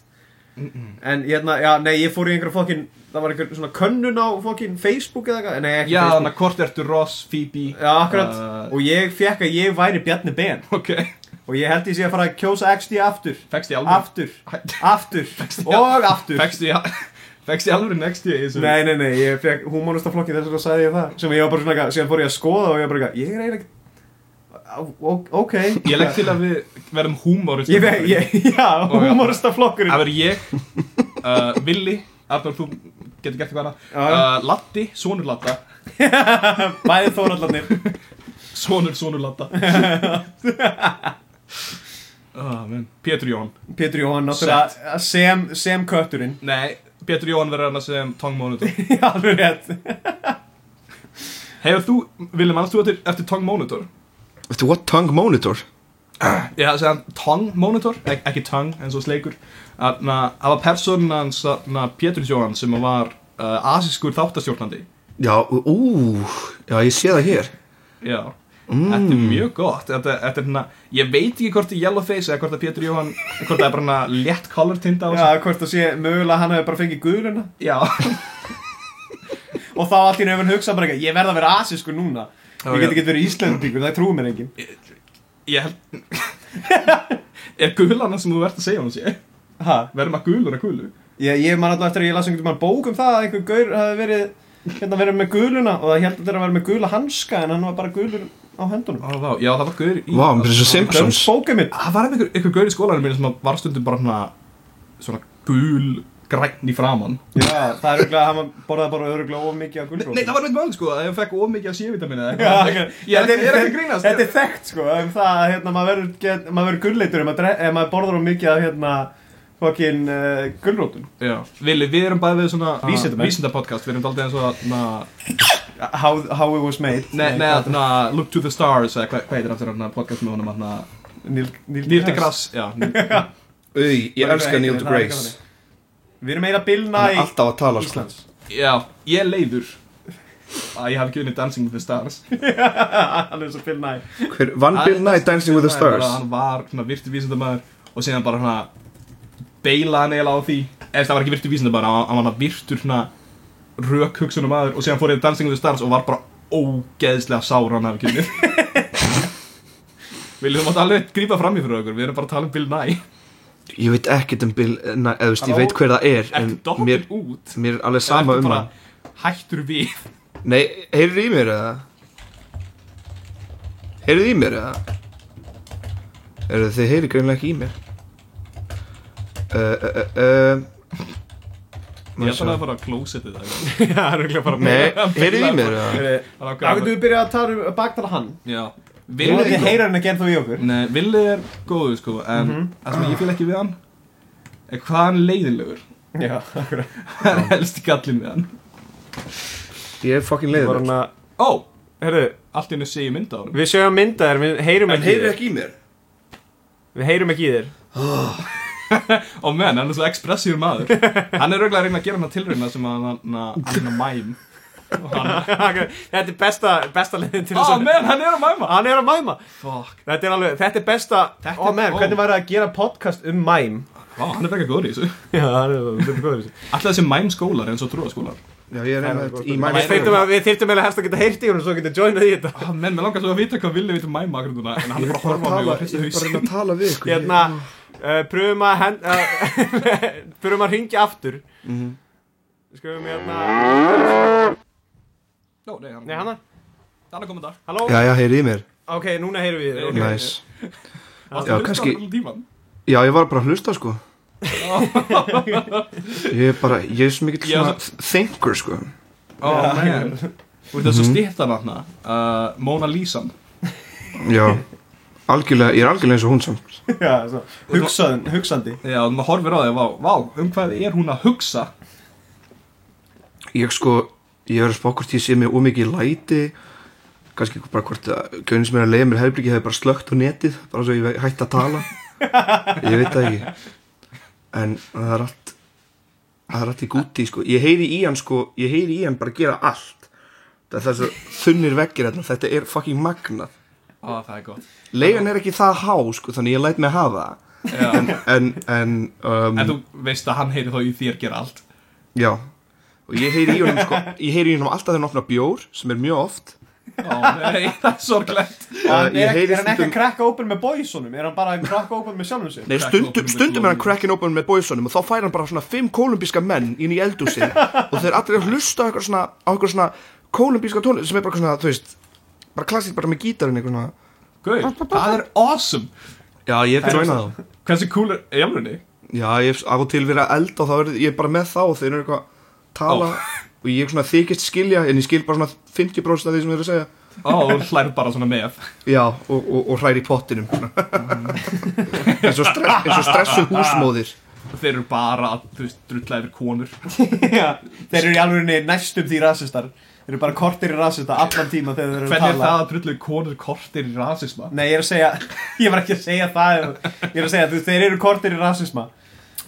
Speaker 2: En hérna, já, nei, ég fór í einhverja fokkin Það var einhver svona könnun á fokkin Facebook eða eitthvað Nei, ekki
Speaker 3: Já,
Speaker 2: Facebook
Speaker 3: þannig að hvort ertu Ross, Phoebe
Speaker 2: Já, akkurat
Speaker 3: uh,
Speaker 2: Og ég fekk að ég væri Bjarni Ben
Speaker 3: Ok,
Speaker 2: Og ég held ég sé að fara að kjósa XD aftur
Speaker 3: fegst ég alveg
Speaker 2: Aftur, aftur og aftur
Speaker 3: Fegst ég Fegst ég alveg next ég í þessu
Speaker 2: Nei, nei, nei, ég fekk humanista flokkin þess að sagði ég það Sem ég var bara svona eitthvað, síðan fór ég að skoða og ég var bara eitthvað Ég er eiginlega ekki Ok
Speaker 3: Ég legg til að við verðum húmórist
Speaker 2: Ég veit, ég- já,
Speaker 3: já.
Speaker 2: humorista flokkurinn
Speaker 3: Það verður ég, uh, Willi, Arnur, þú getur gert eitthvað annað
Speaker 2: Já, já.
Speaker 3: uh, Latti, sonur Latta
Speaker 2: Bæði þórallarnir
Speaker 3: Sonur, sonur Latta oh, man. Pétur Jóhann
Speaker 2: Pétur Jóhann, náttúrulega sem, sem kötturinn
Speaker 3: Nei, Pétur Jóhann verður annars sem Tong Monitor
Speaker 2: Já, alveg rétt
Speaker 3: Hefur þú, Willi, mannst þú eftir, eftir Tong Monitor?
Speaker 4: Eftir what tongue monitor?
Speaker 3: Já, það segja Tong Monitor, ek, ekki Tong, eins og sleikur Þarna, Það var persónan hans, þarna, Pétur Jóhann sem var uh, asískur þáttastjórnandi
Speaker 4: Já, ú, já ég sé það hér
Speaker 3: Já, þetta er mjög gott þetta, þetta er hérna, ég veit ekki hvort það er yellowface eða hvort það er Pétur Jóhann hvort það er bara hérna létt color tinda á þessu
Speaker 2: Já, hvort þú sé, mögulega hann hefði bara fengið guðluna
Speaker 3: Já,
Speaker 2: Og þá allt í nefn hugsa bara eitthvað Ég verð að vera asísku núna
Speaker 3: Já,
Speaker 2: Ég
Speaker 3: já.
Speaker 2: get ekki verið íslendingur, það trúið mér enginn
Speaker 3: ég held Er gulana sem þú verðt að segja hún sé
Speaker 2: Ha,
Speaker 3: Verðum að gulur að gulu
Speaker 2: ég, ég man alltaf eftir að ég las einhvern veginn bók um það að einhver gaur hefði verið hérna verið með guðluna og það held að þetta verið með guðla hanska en hann var bara guðlur á höndunum
Speaker 3: Ó, vá, Já, það var gaur í
Speaker 4: Vá, mér finnst
Speaker 2: Döms
Speaker 4: það Simpsons
Speaker 2: bókið mitt
Speaker 3: Það var einhver, einhver gaur í skólanum mínu sem var stundum bara hérna svona gul græn í framann
Speaker 2: Já, það er örgulega, hann borðaði bara örgulega of mikið af guðlóð
Speaker 3: Nei, það var neitt mál sko að ég fekk of mikið af C-vitaminu eða
Speaker 2: Já,
Speaker 3: eitthvað.
Speaker 2: ok.
Speaker 3: Ég er ekki ég er ekki að grínast
Speaker 2: Þetta er þekkt sko um það að hérna, maður verður get- maður verður gulleitur ef maður, dre- ef maður borður á mikið af hérna fokkin uh, gullrótun
Speaker 3: Já, Vili, við erum bæðið svona
Speaker 2: Vísindamenn.
Speaker 3: Vísindapodcast, við erum daldið eins og að na-
Speaker 2: how, how it was made
Speaker 3: Nei, nei, þarna, Look to the Stars eða hvað hva heitir aftur þarna podcast með honum þarna
Speaker 2: Neil, Neil,
Speaker 3: Neil deGrasse, já Neil-
Speaker 4: Új, ég elska Neil
Speaker 2: Það er ekki
Speaker 4: deGrasse
Speaker 2: þannig. Við erum meira Bill
Speaker 4: Hann er
Speaker 2: Nye
Speaker 4: alltaf að tala sko
Speaker 2: Íslands
Speaker 3: Já, ég er leiður að ég hafi ekki unni Dancing with the Stars
Speaker 2: Hann er svo Bill Nye
Speaker 4: Hver, Van Bill Nye Dancing with the
Speaker 3: Það er bara
Speaker 4: Stars
Speaker 3: að Hann var svona virtu vísindamæður og síðan bara svona beila hann eiginlega á því eða það var ekki virtu vísindamæður, hann var- hann var svona virtur svona rök hugsunum aður og síðan fór ég Dancing with the Stars og var bara ógeðslega sár hann hafi ekki unni Viljum þú mátt alveg grípa fram í fyrir okkur, við erum bara að tala um Bill Nye
Speaker 4: Ég veit ekkert um Bill Nye, eða þú veist, ég
Speaker 2: Halló?
Speaker 4: veit hver það er En
Speaker 3: Ertu doppin
Speaker 4: mér,
Speaker 3: út?
Speaker 4: mér er alveg sama
Speaker 3: Ertu
Speaker 4: um
Speaker 3: bara
Speaker 4: hann
Speaker 3: Hættur við
Speaker 4: Nei, heyrðu í mér eða? Heyrðu í mér eða? Heyrðu þið heyrðu greinlega ekki í mér uh, uh, uh,
Speaker 3: Ég
Speaker 4: uh,
Speaker 3: ætla að fara að klósetið það
Speaker 2: Já, hann er örgulega bara
Speaker 4: Nei, heyrðu í mér eða?
Speaker 2: Það Eh, getur við byrjað að tala um baktala hann
Speaker 3: Já
Speaker 2: Ég veit ekki
Speaker 3: Villið
Speaker 2: heyra hann ekki ennþá í okkur
Speaker 3: Nei, Villið er góður sko En það sem ég fíl ekki við hann Er hvað hann er leiðilegur
Speaker 2: Já, akkurat
Speaker 3: Það er helst gallin við hann
Speaker 4: Ég er fucking
Speaker 2: Var
Speaker 4: leiður
Speaker 2: hann að,
Speaker 3: Ó,
Speaker 2: herru,
Speaker 3: allt í hennu sé ég mynda á hann
Speaker 2: við sjöum myndaðir, við heyrum ekki í þér
Speaker 4: ekki í mér
Speaker 2: Við heyrum ekki í þér
Speaker 3: Ó menn, hann er svo expressífur maður Hann er rauglega að reyna að gera hann að tilrýna sem að hann að hann að mæm Og hann-
Speaker 2: Þetta er besta, besta leiðin til
Speaker 3: Ó
Speaker 2: þess að
Speaker 3: menn, hann er að mæma
Speaker 2: Hann er að mæma
Speaker 3: Ah, Fuck,
Speaker 2: Þetta er alveg, þetta er besta
Speaker 3: Þetta
Speaker 2: Ó
Speaker 3: er-
Speaker 2: menn,
Speaker 3: ó.
Speaker 2: hvernig væri að gera podcast um mæm?
Speaker 3: Vá, hann er frekar góður í þessu
Speaker 2: Já, það er þetta góður
Speaker 3: Alltaf þessi mæm skólar eins og trúaskólar
Speaker 4: Já, ég er einmitt í sko.
Speaker 3: Mæ-
Speaker 4: mæmi
Speaker 2: Við þyrftum að- við þyrftum eiginlega helst að geta heyrt í honum svo að geta joinað í þetta
Speaker 3: Ah, menn, mér langar svo að vita hvað Vili veit um mæma akkur núna En hann
Speaker 4: Ég
Speaker 3: er
Speaker 4: er
Speaker 3: bara að
Speaker 4: bara að
Speaker 3: horfa á mig og hrista hausinn
Speaker 4: tala, ég er bara að reyna að tala við ykkur
Speaker 2: Hérna, uh, pröfum að hen, uh, Pröfum að ringja aftur
Speaker 4: Mhm.
Speaker 2: Skulum hérna
Speaker 3: Jó, nei, hann,
Speaker 2: Nei, hana,
Speaker 3: hann er komin þar
Speaker 2: halló
Speaker 4: Já, já, heyrðu í mér
Speaker 2: Ok, núna heyrum við þér ok.
Speaker 3: Ok.
Speaker 4: Næs
Speaker 3: Varstu
Speaker 4: Já,
Speaker 3: að hlusta
Speaker 4: kannski-
Speaker 3: á allan tímann?
Speaker 4: Já, ég var bara að hlusta sko Ég er bara, ég er svo mikill
Speaker 3: Já,
Speaker 4: svona thinker sko
Speaker 3: Ó, menn Þú veist þessu stýttan hann uh, Mona Lisa
Speaker 4: Já, algjörlega, ég er algjörlega eins og hún samt
Speaker 2: Já, svo, hugsaðan, hugsandi
Speaker 3: Já, og maður horfir á því, vá, vá, um hvað er hún að hugsa
Speaker 4: Ég sko, ég verður spokkvort ég sé mig ómikið læti kannski bara hvort að gaunin sem er að leiða mér herbyggi hefur bara slögt á netið bara svo ég hætti að tala ég veit það ekki en það er allt það er allt í gúti sko, ég heyri í hann sko ég heyri í hann bara gera allt það er þess að þunnir veggir þarna þetta er fucking magnað
Speaker 3: Á, það er gott
Speaker 4: leigan er ekki það há sko þannig ég læt mig hafa það
Speaker 3: Já.
Speaker 4: en, en, um,
Speaker 3: En þú veist að hann heyri þá í þér gera allt
Speaker 4: já og ég heyri í honum sko, ég heyri í honum alltaf þegar hann opna bjór sem er mjög oft
Speaker 3: Ó nei, það er sorglegt
Speaker 2: Hann
Speaker 4: Eh, ég
Speaker 2: er,
Speaker 4: heyri
Speaker 2: er hann ekki
Speaker 4: stundum-
Speaker 2: að krakka open með boysunum? Er hann bara að krakka open með sjálfum sér?
Speaker 4: Nei,
Speaker 3: Crack open
Speaker 4: stundum,
Speaker 3: with
Speaker 4: stundum er hann
Speaker 3: Glory.
Speaker 4: cracking open með boysunum og þá fær hann bara svona fimm kolumbíska menn inn í eldhúsið og þeir allir að hlusta á eitthvað svona, á eitthvað svona kolumbíska tónlist sem er bara eitthvað svona, þú veist bara klassíkt bara með gítarinn eitthvað svona
Speaker 3: Gauð, það er awesome
Speaker 4: Já, ég hef joinað þá
Speaker 3: Hversu cool er, ég alveg
Speaker 4: Já, ég hef af og til verið að elda og þá er ég er bara með þá og þeir eru eitthvað að tala og ég er svona þykist skilja en ég skil bara svona 50% af því sem þeir eru að segja
Speaker 3: Ó, þú hlær bara svona með
Speaker 4: Já, og, og, og hræri í pottinum Mhm. eins, og stress, eins og stressu húsmóðir
Speaker 3: Þeir eru bara að, þú veist, drulla yfir konur
Speaker 2: Já, þeir eru í alvegurinni næstum því rasistar Þeir eru bara kortir í rasista allan tíma þegar þeir eru að
Speaker 3: Hvernig er
Speaker 2: tala
Speaker 3: það að drulla yfir konur kortir í rasisma?
Speaker 2: Nei, ég er að segja, ég var ekki að segja það Ég er að segja, þú, þeir eru kortir í rasisma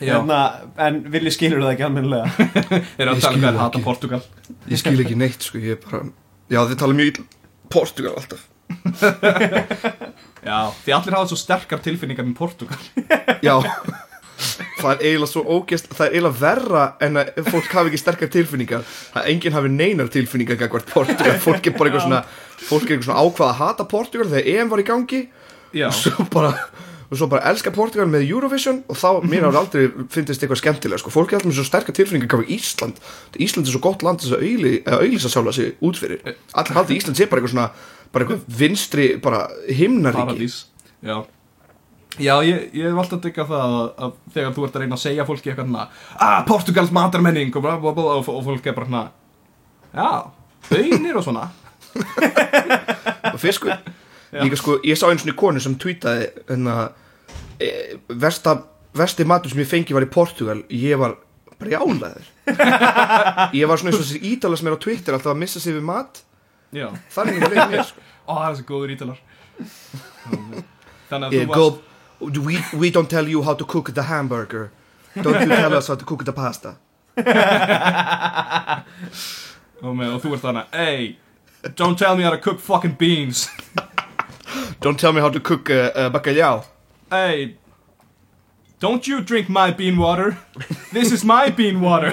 Speaker 3: Já.
Speaker 2: Hérna, En villi skilur það ekki almennilega
Speaker 3: Þeir eru að
Speaker 4: Ég
Speaker 3: tala um
Speaker 4: skil
Speaker 3: hvernig
Speaker 4: það
Speaker 3: hata
Speaker 4: ekki.
Speaker 3: Portugal
Speaker 4: Ég skil ekki neitt, sko, ég er bara Já, þið tala mjög illa Portugal alltaf
Speaker 3: Já, því allir hafa svo sterkar tilfinningar með Portugal
Speaker 4: Já Það er eiginlega svo ógæst, það er eiginlega verra en að fólk hafi ekki sterkar tilfinningar að enginn hafi neinar tilfinningar gagvart Portugal, fólk er bara eitthvað svona fólk er eitthvað svona ákvað að hata Portugal þegar EM var í gangi
Speaker 3: Já,
Speaker 4: og svo bara, og svo bara elska Portugal með Eurovision og þá,
Speaker 3: Mhm.
Speaker 4: mér hefur aldrei fyndist eitthvað skemmtilega, sko, fólk er alltaf með svo sterkar tilfinningar gagvart Ísland, Ísland er svo gott land til þess að auðli- að auðlýsa sjálfa sig út fyrir
Speaker 3: Eh.
Speaker 4: allir haldi Ísland sé bara eitthvað svona bara eitthvað vinstri, bara himnaríki
Speaker 3: paradís Já Já, ég, ég hef alltaf digga það að, að þegar þú ert að reyna að segja fólki eitthvað hana Ah, Portugals matarmenning og, bla, bla, bla, og, og fólk er bara hana Já, beinir og svona
Speaker 4: og fiskur líka sko, ég sá einu svona konu sem tweetaði hérna e, versta, versti matur sem ég fengi var í Portugal ég var brjálaður ég var svona eins og þessi ídala sem er á Twitter alltaf að missa sig við mat
Speaker 3: Já,
Speaker 4: þannig er leið mér sko.
Speaker 3: ó, það er svo góður ítalar Þannig að þú
Speaker 4: ég, go, we, we don't tell you how to cook the hamburger don't you tell us how to cook the pasta
Speaker 3: varst og, með, og þú ert hana Ey, don't tell me how to cook fucking beans
Speaker 4: don't tell me how to cook uh, uh, bacalhau
Speaker 3: Hey, don't you drink my bean water? This is my bean water.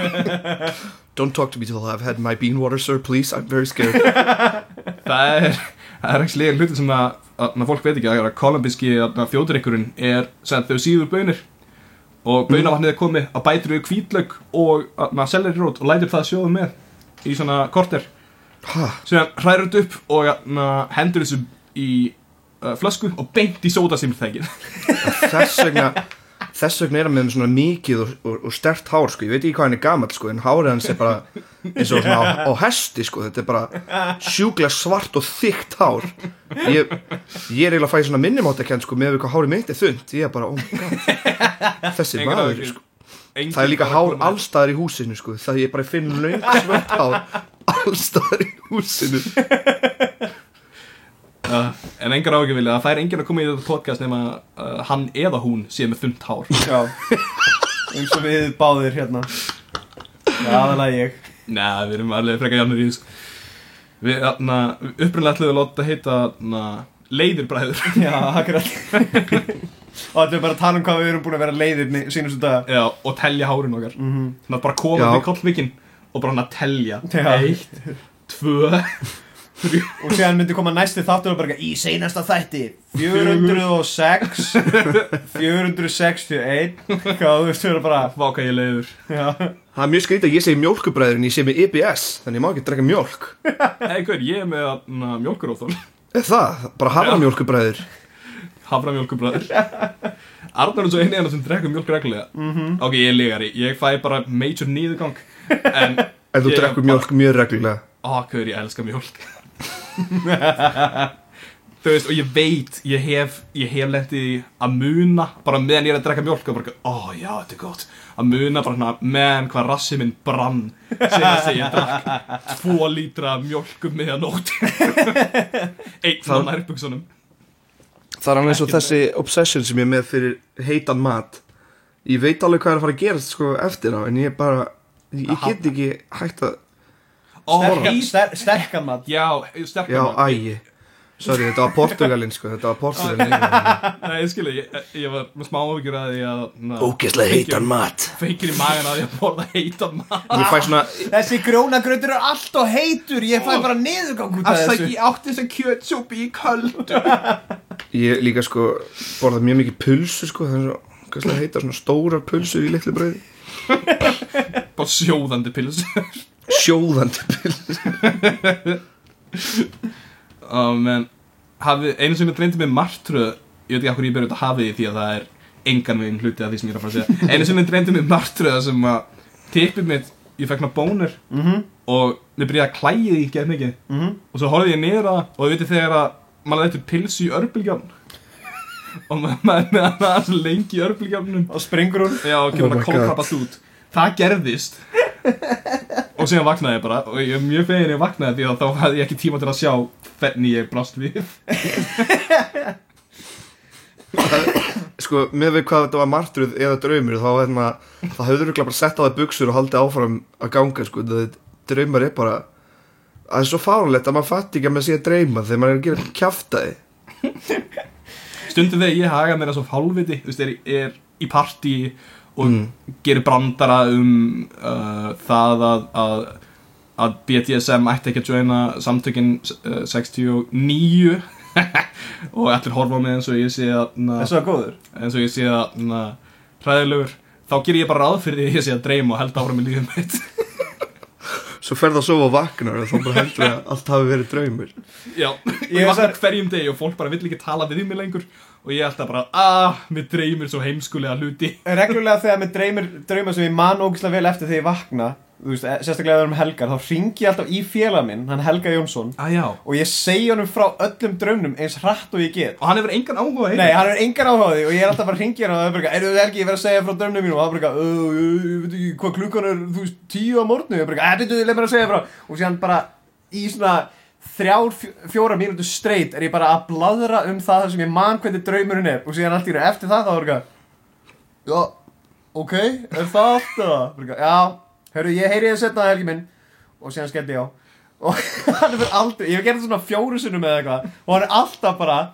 Speaker 4: don't talk to me till I've had my bean water sir please I'm very scared
Speaker 3: það er, það er ekki hluti sem að, að na, fólk veit ekki að kolumbíski þjóðurikkurinn er sem þau síður bönir og bönavatnið er komið að bætir við hvítlaug og na, selleri rót og lætir það sjóðum með í svona korter
Speaker 4: ha,
Speaker 3: sem hræður þetta upp og na, hendur þessu í uh, flösku og beint í sóta sem þegið
Speaker 4: þess vegna þess vegna er hann með svona mikið og, og, og stert hár sko, ég veit ekki hvað hann er gamall sko, en hárið hans er bara eins og svona á, á hesti sko, þetta er bara sjúklega svart og þykkt hár ég, ég er eiginlega að fæ svona minnumáttakend sko, með hvað hárið mitt er þund ég er bara, oh my god, þessi maður sko. það er líka hár allstaðar í húsinu sko, það ég bara finn löng svart hár allstaðar í húsinu
Speaker 3: Uh, en engar áhyggjum vilja, það fær enginn að koma í þetta podcast nema uh, hann eða hún sé með þunnt hár
Speaker 2: Já, eins og við báðir hérna Já, aðalega ég
Speaker 3: Nei, við erum alveg frekar jafnir í þessu Við, na, upprunalega ætluðum að láta heita na, leiðirbræður
Speaker 2: Já, akkurat Og þetta er bara að tala um hvað við erum búin að vera leiðir sínustu daga
Speaker 3: Já, og telja hárin okkar mm -hmm. Þannig að bara koma
Speaker 4: Já.
Speaker 3: upp í kollvikinn og bara hann að telja
Speaker 2: Já.
Speaker 3: Eitt, tvö
Speaker 2: Og séðan myndi koma næsti þáttur og bara eitthvað, Í seinasta þætti 406 461 Hvað þú veist, þú eru bara
Speaker 3: Váka ég er leiður
Speaker 2: Já,
Speaker 4: það er mjög skrítið að ég segi mjólkubræður en ég segi með EBS, þannig ég má ekki drekka mjólk
Speaker 3: Nei, hver, ég er með na, mjólkuróþól
Speaker 4: Er það, bara hafra mjólkubræður
Speaker 3: Hafra mjólkurbræður Arnar er svo eini enn sem drekkur mjólk reglulega -hmm. Ok, ég er ligari, ég fæ bara major nýðugang En
Speaker 4: En þú
Speaker 3: Ég-
Speaker 4: drekkur mjölk mjög reglulega
Speaker 3: Akkur, ég elska mjólk Þú veist, og ég veit Ég hef, ég hef lendið í að muna Bara meðan ég er að drekka mjólk Og bara, ó já, þetta er gott Að muna bara hana, meðan hvað rassi minn brann Segja að ég drakk Tvo lítra af mjólk um miðan nótt Einn frá
Speaker 4: Það-
Speaker 3: nærbuksunum
Speaker 4: Það er alveg eins og þessi obsession sem ég er með fyrir heitan mat Ég veit alveg hvað er að fara að gerast sko eftir á En ég bara, ég get ekki hægt að
Speaker 3: Ó,
Speaker 2: sterkan-
Speaker 3: heit
Speaker 2: ster- sterkan mat
Speaker 3: Já, sterkur
Speaker 4: Já,
Speaker 3: mat.
Speaker 4: ægi Sorry, þetta var Portugalin sko, þetta var Portugalin
Speaker 3: Nei, ég skilja, ég, ég var með smá áhyggjur að því að na,
Speaker 4: Ógeðslega heitan mat
Speaker 3: feikir í magan að ég borða heitan mat
Speaker 4: Ég fæ svona,
Speaker 5: Þessi grónagröður er alltaf heitur Ég fæ bara niðurgang út af þessu
Speaker 3: átti þess að kjötsúpi í köld
Speaker 4: ég líka sko borða mjög mikið pulsu sko Það er svo, ógeðslega heitar svona stórar pulsur í litlu brauði
Speaker 3: Bara sjóðandi pils
Speaker 4: Sjóðandi pulsu
Speaker 3: um, en, hafi, Einu sem ég dreyndi með martröð Ég veit ekki hvað ég berið út að hafi því því að það er engan veginn hluti af því sem ég er að fara að segja Einu sem ég dreyndi með martröð sem að tippið mitt, ég fekk ná bónur -hmm. og mér byrjaði að klæði því gett mikið -hmm. og svo horfði ég niður að og þið veitir þegar að maður lætur pilsu í örbulgjörn og ma- maður er með hann aðeins lengi í örbulgjörnum
Speaker 2: Og springur hún
Speaker 3: Já, og kemur
Speaker 4: Oh
Speaker 3: hann
Speaker 4: my
Speaker 3: að kólkrabbast út Það gerðist Og síðan vaknaði ég bara Og ég er mjög fegin ég vaknaði því að þá hafði ég ekki tíma til að sjá Hvernig ég brást við
Speaker 4: Sko, með við hvað þetta var martruð eða draumur þá var hérna, það höfður ykkur bara sett á það buksur og haldið áfram að ganga sko, það draumar er bara það er svo fárlegt að maður fatti ekki að maður sé að dreyma þegar maður er að gera kjaftaði
Speaker 3: Stundum þegar ég haga mér að svo hálfviti Þú veist, er, er í partí Og
Speaker 4: Mm.
Speaker 3: gerir brandara um uh, Það að, að að BDSM ætti ekki að joina samtökin uh, 69 og allir horfa á mig eins og ég sé að na-
Speaker 2: Þessu var góður
Speaker 3: eins og ég sé að na, hræðilegur þá ger ég bara ráð fyrir því að ég sé að dreyma og held áfram í lífum mitt
Speaker 4: svo ferð að sofa og vaknar og þá bara heldur að allt hafi verið draumur
Speaker 3: já,
Speaker 2: Ég
Speaker 3: ég vakna
Speaker 2: sagði-
Speaker 3: hverjum degi og fólk bara vill ekki tala við mig lengur og ég er alltaf bara, ah, mér dreymir svo heimskulega hluti
Speaker 2: Reglulega þegar mér dreymir drauma sem ég man ógislega vel eftir þegar ég vakna Þú veist, sérstaklega ef það er um helgar Þá ringi ég alltaf í félag minn, hann Helga Jónsson
Speaker 3: ah, já,
Speaker 2: Og ég segi honum frá öllum draumnum eins hratt og ég get
Speaker 3: og hann hefur engan áhuga
Speaker 2: Nei, hann er engan áhugaði og ég er alltaf bara að ringja hann og það er bara eitthvað, Erðu Helgi, ég verð að segja frá dömnum mínum og það er bara, eitthvað, "Ö, ég ég veit ekki hvað klukkan er, þú veist, tíu á morgnu og ég er bara, eitthvað, "Eh, byrju, ég leið mér að segja frá og síðan bara í svona þrjár, fjó- fjórar mínútu straight er ég bara að bladra um það sem ég man hvernig draumurinn er og síðan allt í raun eftir það þá er bara, eitthvað, já, ok, er það allt það? Bara eitthvað, Já, hörru, ég heyri þið setna Helgi minn og síðan skelli ég á og hann er aldrei, ég hef gert það svona fjóru sinnum eða eitthvað og hann er alltaf bara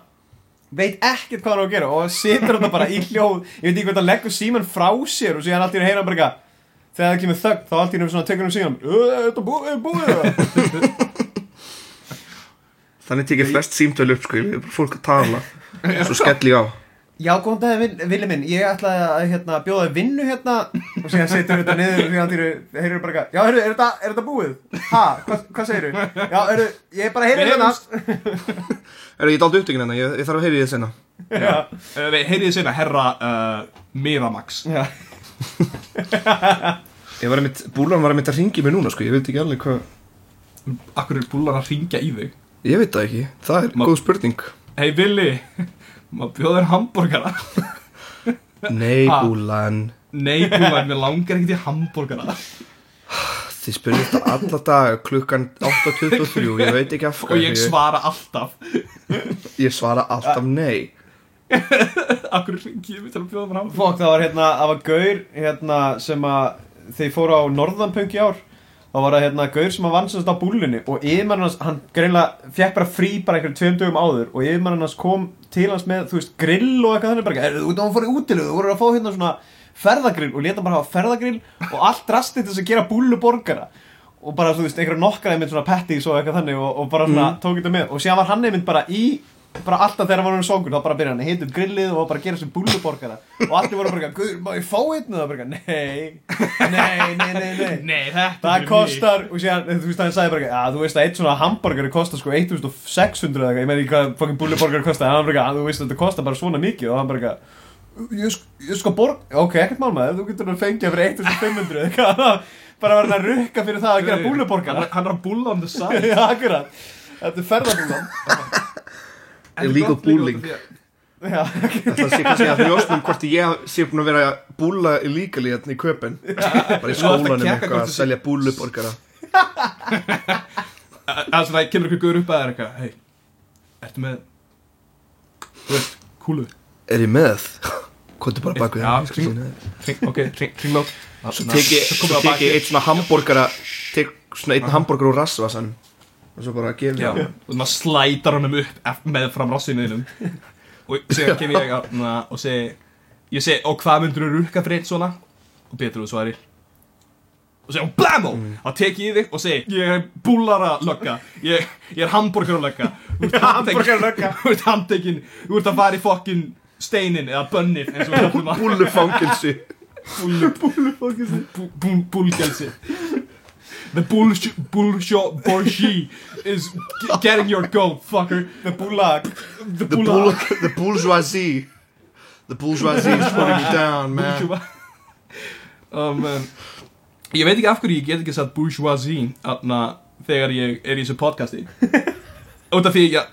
Speaker 2: veit ekkert hvað hann á að gera og situr hann bara í hljóð ég veit ekki hvað hann leggur síman frá sér og síðan allt í hennu heyra hann bara eitthvað þegar það kemur þögn þá allt í hennu svona tekur hann síman "Ö, er þetta búið, er búið það?"
Speaker 4: þannig tekið flest símtölu upp sko, ég er bara fólk að tala svo skell ég á
Speaker 2: já góðan dag Vili minn ég ætlaði að hérna, bjóða þér vinnu hérna og síðan situr þetta niður og síðan allt í hennu heyrir hann bara eitthvað já heyrðu, er þetta, er þetta búið? ha, hvað, hvað segir já heyrðu, ég bara heyri
Speaker 3: Við
Speaker 2: hérna
Speaker 3: heyrumst.
Speaker 4: er ég dált upptökin hennar, ég, ég þarf að heyri þið senna
Speaker 3: uh, heyrið sinna herra uh, Miramax
Speaker 2: Já.
Speaker 4: ég var einmitt, búlan var einmitt að ringi mig núna sko, ég veit ekki alveg hvað
Speaker 3: akkur er búlan að ringja í þig
Speaker 4: ég veit það ekki, það er
Speaker 3: Ma-
Speaker 4: góð spurning
Speaker 3: hei Billy, maður bjóður hambúrgara
Speaker 4: nei
Speaker 3: Ha.
Speaker 4: búlan,
Speaker 3: nei búlan, mér langar ekkert í hambúrgara
Speaker 4: þið spurði þetta alla dag klukkan 8.23, ég veit ekki af
Speaker 3: og ég
Speaker 4: hverju.
Speaker 3: svara alltaf
Speaker 4: Ég svara alltaf nei
Speaker 3: akkur ringi ég mig til að bjóða mér hambúrgara
Speaker 2: Fokk, það var hérna, það var gaur hérna, sem að þeir fóru á Norðanpunk í ár þá var það hérna gaur sem að vansast á búlunni og yfirmann hans, hann greinlega fekk bara frí bara einhverjum tveim dögum áður og yfirmann hans kom til hans með, þú veist, grill og eitthvað þannig bara, er þú út að hann fór í útilu, þú voru að fá hérna svona ferðagrill og leta hann bara hafa ferðagrill og allt drastið til þess að gera búlu borgara og bara, þú veist, einhverja nokkar einmitt svona patties og eitthvað þannig og, og bara svona tók þetta með og síðan var hann einmitt bara í bara alltaf þegar hann var um sóngur þá bara byrja hann að hita upp grillið og bara gera sem búluborgara og allir voru bara, guður, má ég fá einn og það bara, nei, nei, nei, nei, nei
Speaker 3: Nei, þetta
Speaker 2: Það
Speaker 3: fyrir mig.
Speaker 2: kostar, og síðan, eh, þú veist, hann sagði bara að þú veist að eitt svona hamburgari kostar sko 1600 eða eitthvað, ég meina ekki hvað fokkin búliborgari kostar, en hann bara, að þú veist að þetta kostar bara svona mikið og hann bara, ég, sk- ég sko borg, ok, ekkert mál maður, þú getur hann fengið fyrir 1500 eða eitthvað, bara var hann að rukka fyrir það að gera búliborgara,
Speaker 3: Hann- hann er að búla on the side
Speaker 2: já, akkurat, þetta er ferðabúlan,
Speaker 4: Illegal
Speaker 3: gott líka
Speaker 4: bullying.
Speaker 3: út af því að-
Speaker 2: já, ok,
Speaker 4: Það sé kannski að hrjósnum hvort ég sé búin að vera að búla líkali hérna í köpen Bara í skólanum
Speaker 3: kekka
Speaker 4: eitthvað
Speaker 3: hvort
Speaker 4: að
Speaker 3: þú sé-
Speaker 4: selja búluborgara
Speaker 3: Það er Eh, svona, kemur ykkur guður upp að þér eitthvað Hei, ertu með Þú veist, kúlu
Speaker 4: Er ég með? Kvotu bara bak við
Speaker 3: Já,
Speaker 4: það, ég skal
Speaker 3: kring-
Speaker 4: sýna þér.
Speaker 3: Hring- Ok, kringlót
Speaker 4: Svo tek ég- svo tek ég eitt svona hambúrgara Tek svona einn hambúrgar úr rassvasan og svo bara gefið
Speaker 3: Já,
Speaker 4: það
Speaker 3: og maður slætar honum upp eff- með fram rassinuðinum og síðan kem ég að og segi ég segi, og hvað myndur þú rukka fyrir eitt svona og betur þú svarir og segja, blammo,
Speaker 4: Mm.
Speaker 3: þá tek ég í þig og segi, ég er búlara lögga ég, ég er hambúrgar lögga
Speaker 2: Hamborgarlögga.
Speaker 3: þú ert handtekinn, þú ert að fara í fokkin steinin eða bönnið eins og við kallum að
Speaker 4: búllufangilsi
Speaker 3: búlu búlu búlu búlgelsi The bullsh bullsho borshi is g- getting your goat, fucker.
Speaker 2: The Bullock
Speaker 3: The
Speaker 4: the, bull, the bourgeoisie the bourgeoisie is putting you down man
Speaker 3: Bourgeois- um, um, ég veit ekki af hverju ég get ekki sagt bourgeoisie atna, þegar ég er í þessu podcasti út af því ég,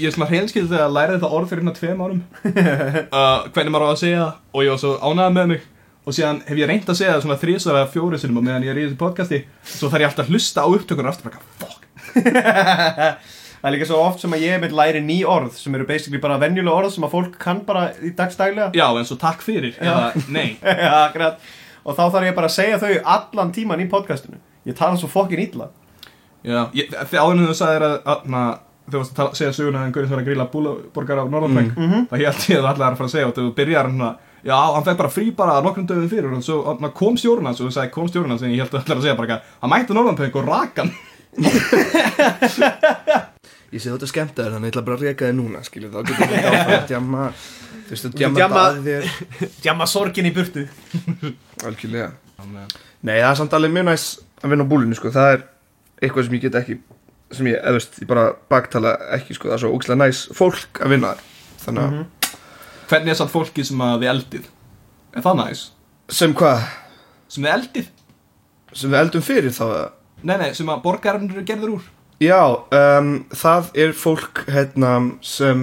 Speaker 3: ég er svona hreinskild þegar að læra þetta orð fyrir hérna tveim árum uh, hvernig maður á að segja það og ég var svo ánægð með mig og síðan hef ég reynt að segja það svona þrísar eða fjóri sinum og meðan ég er í þessu podcasti svo þarf ég alltaf að hlusta á upptökur aftur bara, fuck,
Speaker 2: Það er líka svo oft sem að ég mitt læri ný orð sem eru basically bara venjulega orð sem að fólk kann bara í dagstæglega
Speaker 3: já en svo takk fyrir eða nei,
Speaker 2: Já, akkurat Og þá þarf ég bara að segja þau allan tíman í podcastinu Ég tala svo fokkin illa
Speaker 3: já ég, þegar áður en þú sagðir að, að na, þú varst að tala, segja söguna en Guðin sem var að grilla búlaborgar á Norðanfeng mm -hmm. það held ég að allar er að fara að segja og þú byrjar hann að Já, hann fekk bara frí bara nokkrum dögum fyrir og svo hann kom stjórn hans og þú sagði kom stjórn hans en ég held að allar að segja bara eitthvað hann mætti Norðanpöng og rak hann
Speaker 4: ég sé þetta skemmt að þér þannig ég ætla bara að reka þig núna skilur þá getur þú áfram að djamma þú veist að djamma
Speaker 2: djamma-
Speaker 4: þetta að þér
Speaker 2: Djamma sorgin í burtu
Speaker 4: algjörlega nei það er samt alveg mjög næs að vinna á búlinu sko það er eitthvað sem ég get ekki sem ég, eða veist, ég bara baktala ekki sko það er svo ógæslega næs fólk að vinna þar þannig að
Speaker 3: Hvernig er satt fólki sem að þið eldið? Er það næs?
Speaker 4: sem hvað,
Speaker 3: Sem þið eldið?
Speaker 4: sem við eldum fyrir þá eða?
Speaker 3: Nei, nei, sem að borgarinn eru gerður úr
Speaker 4: Já, um, það er fólk hérna sem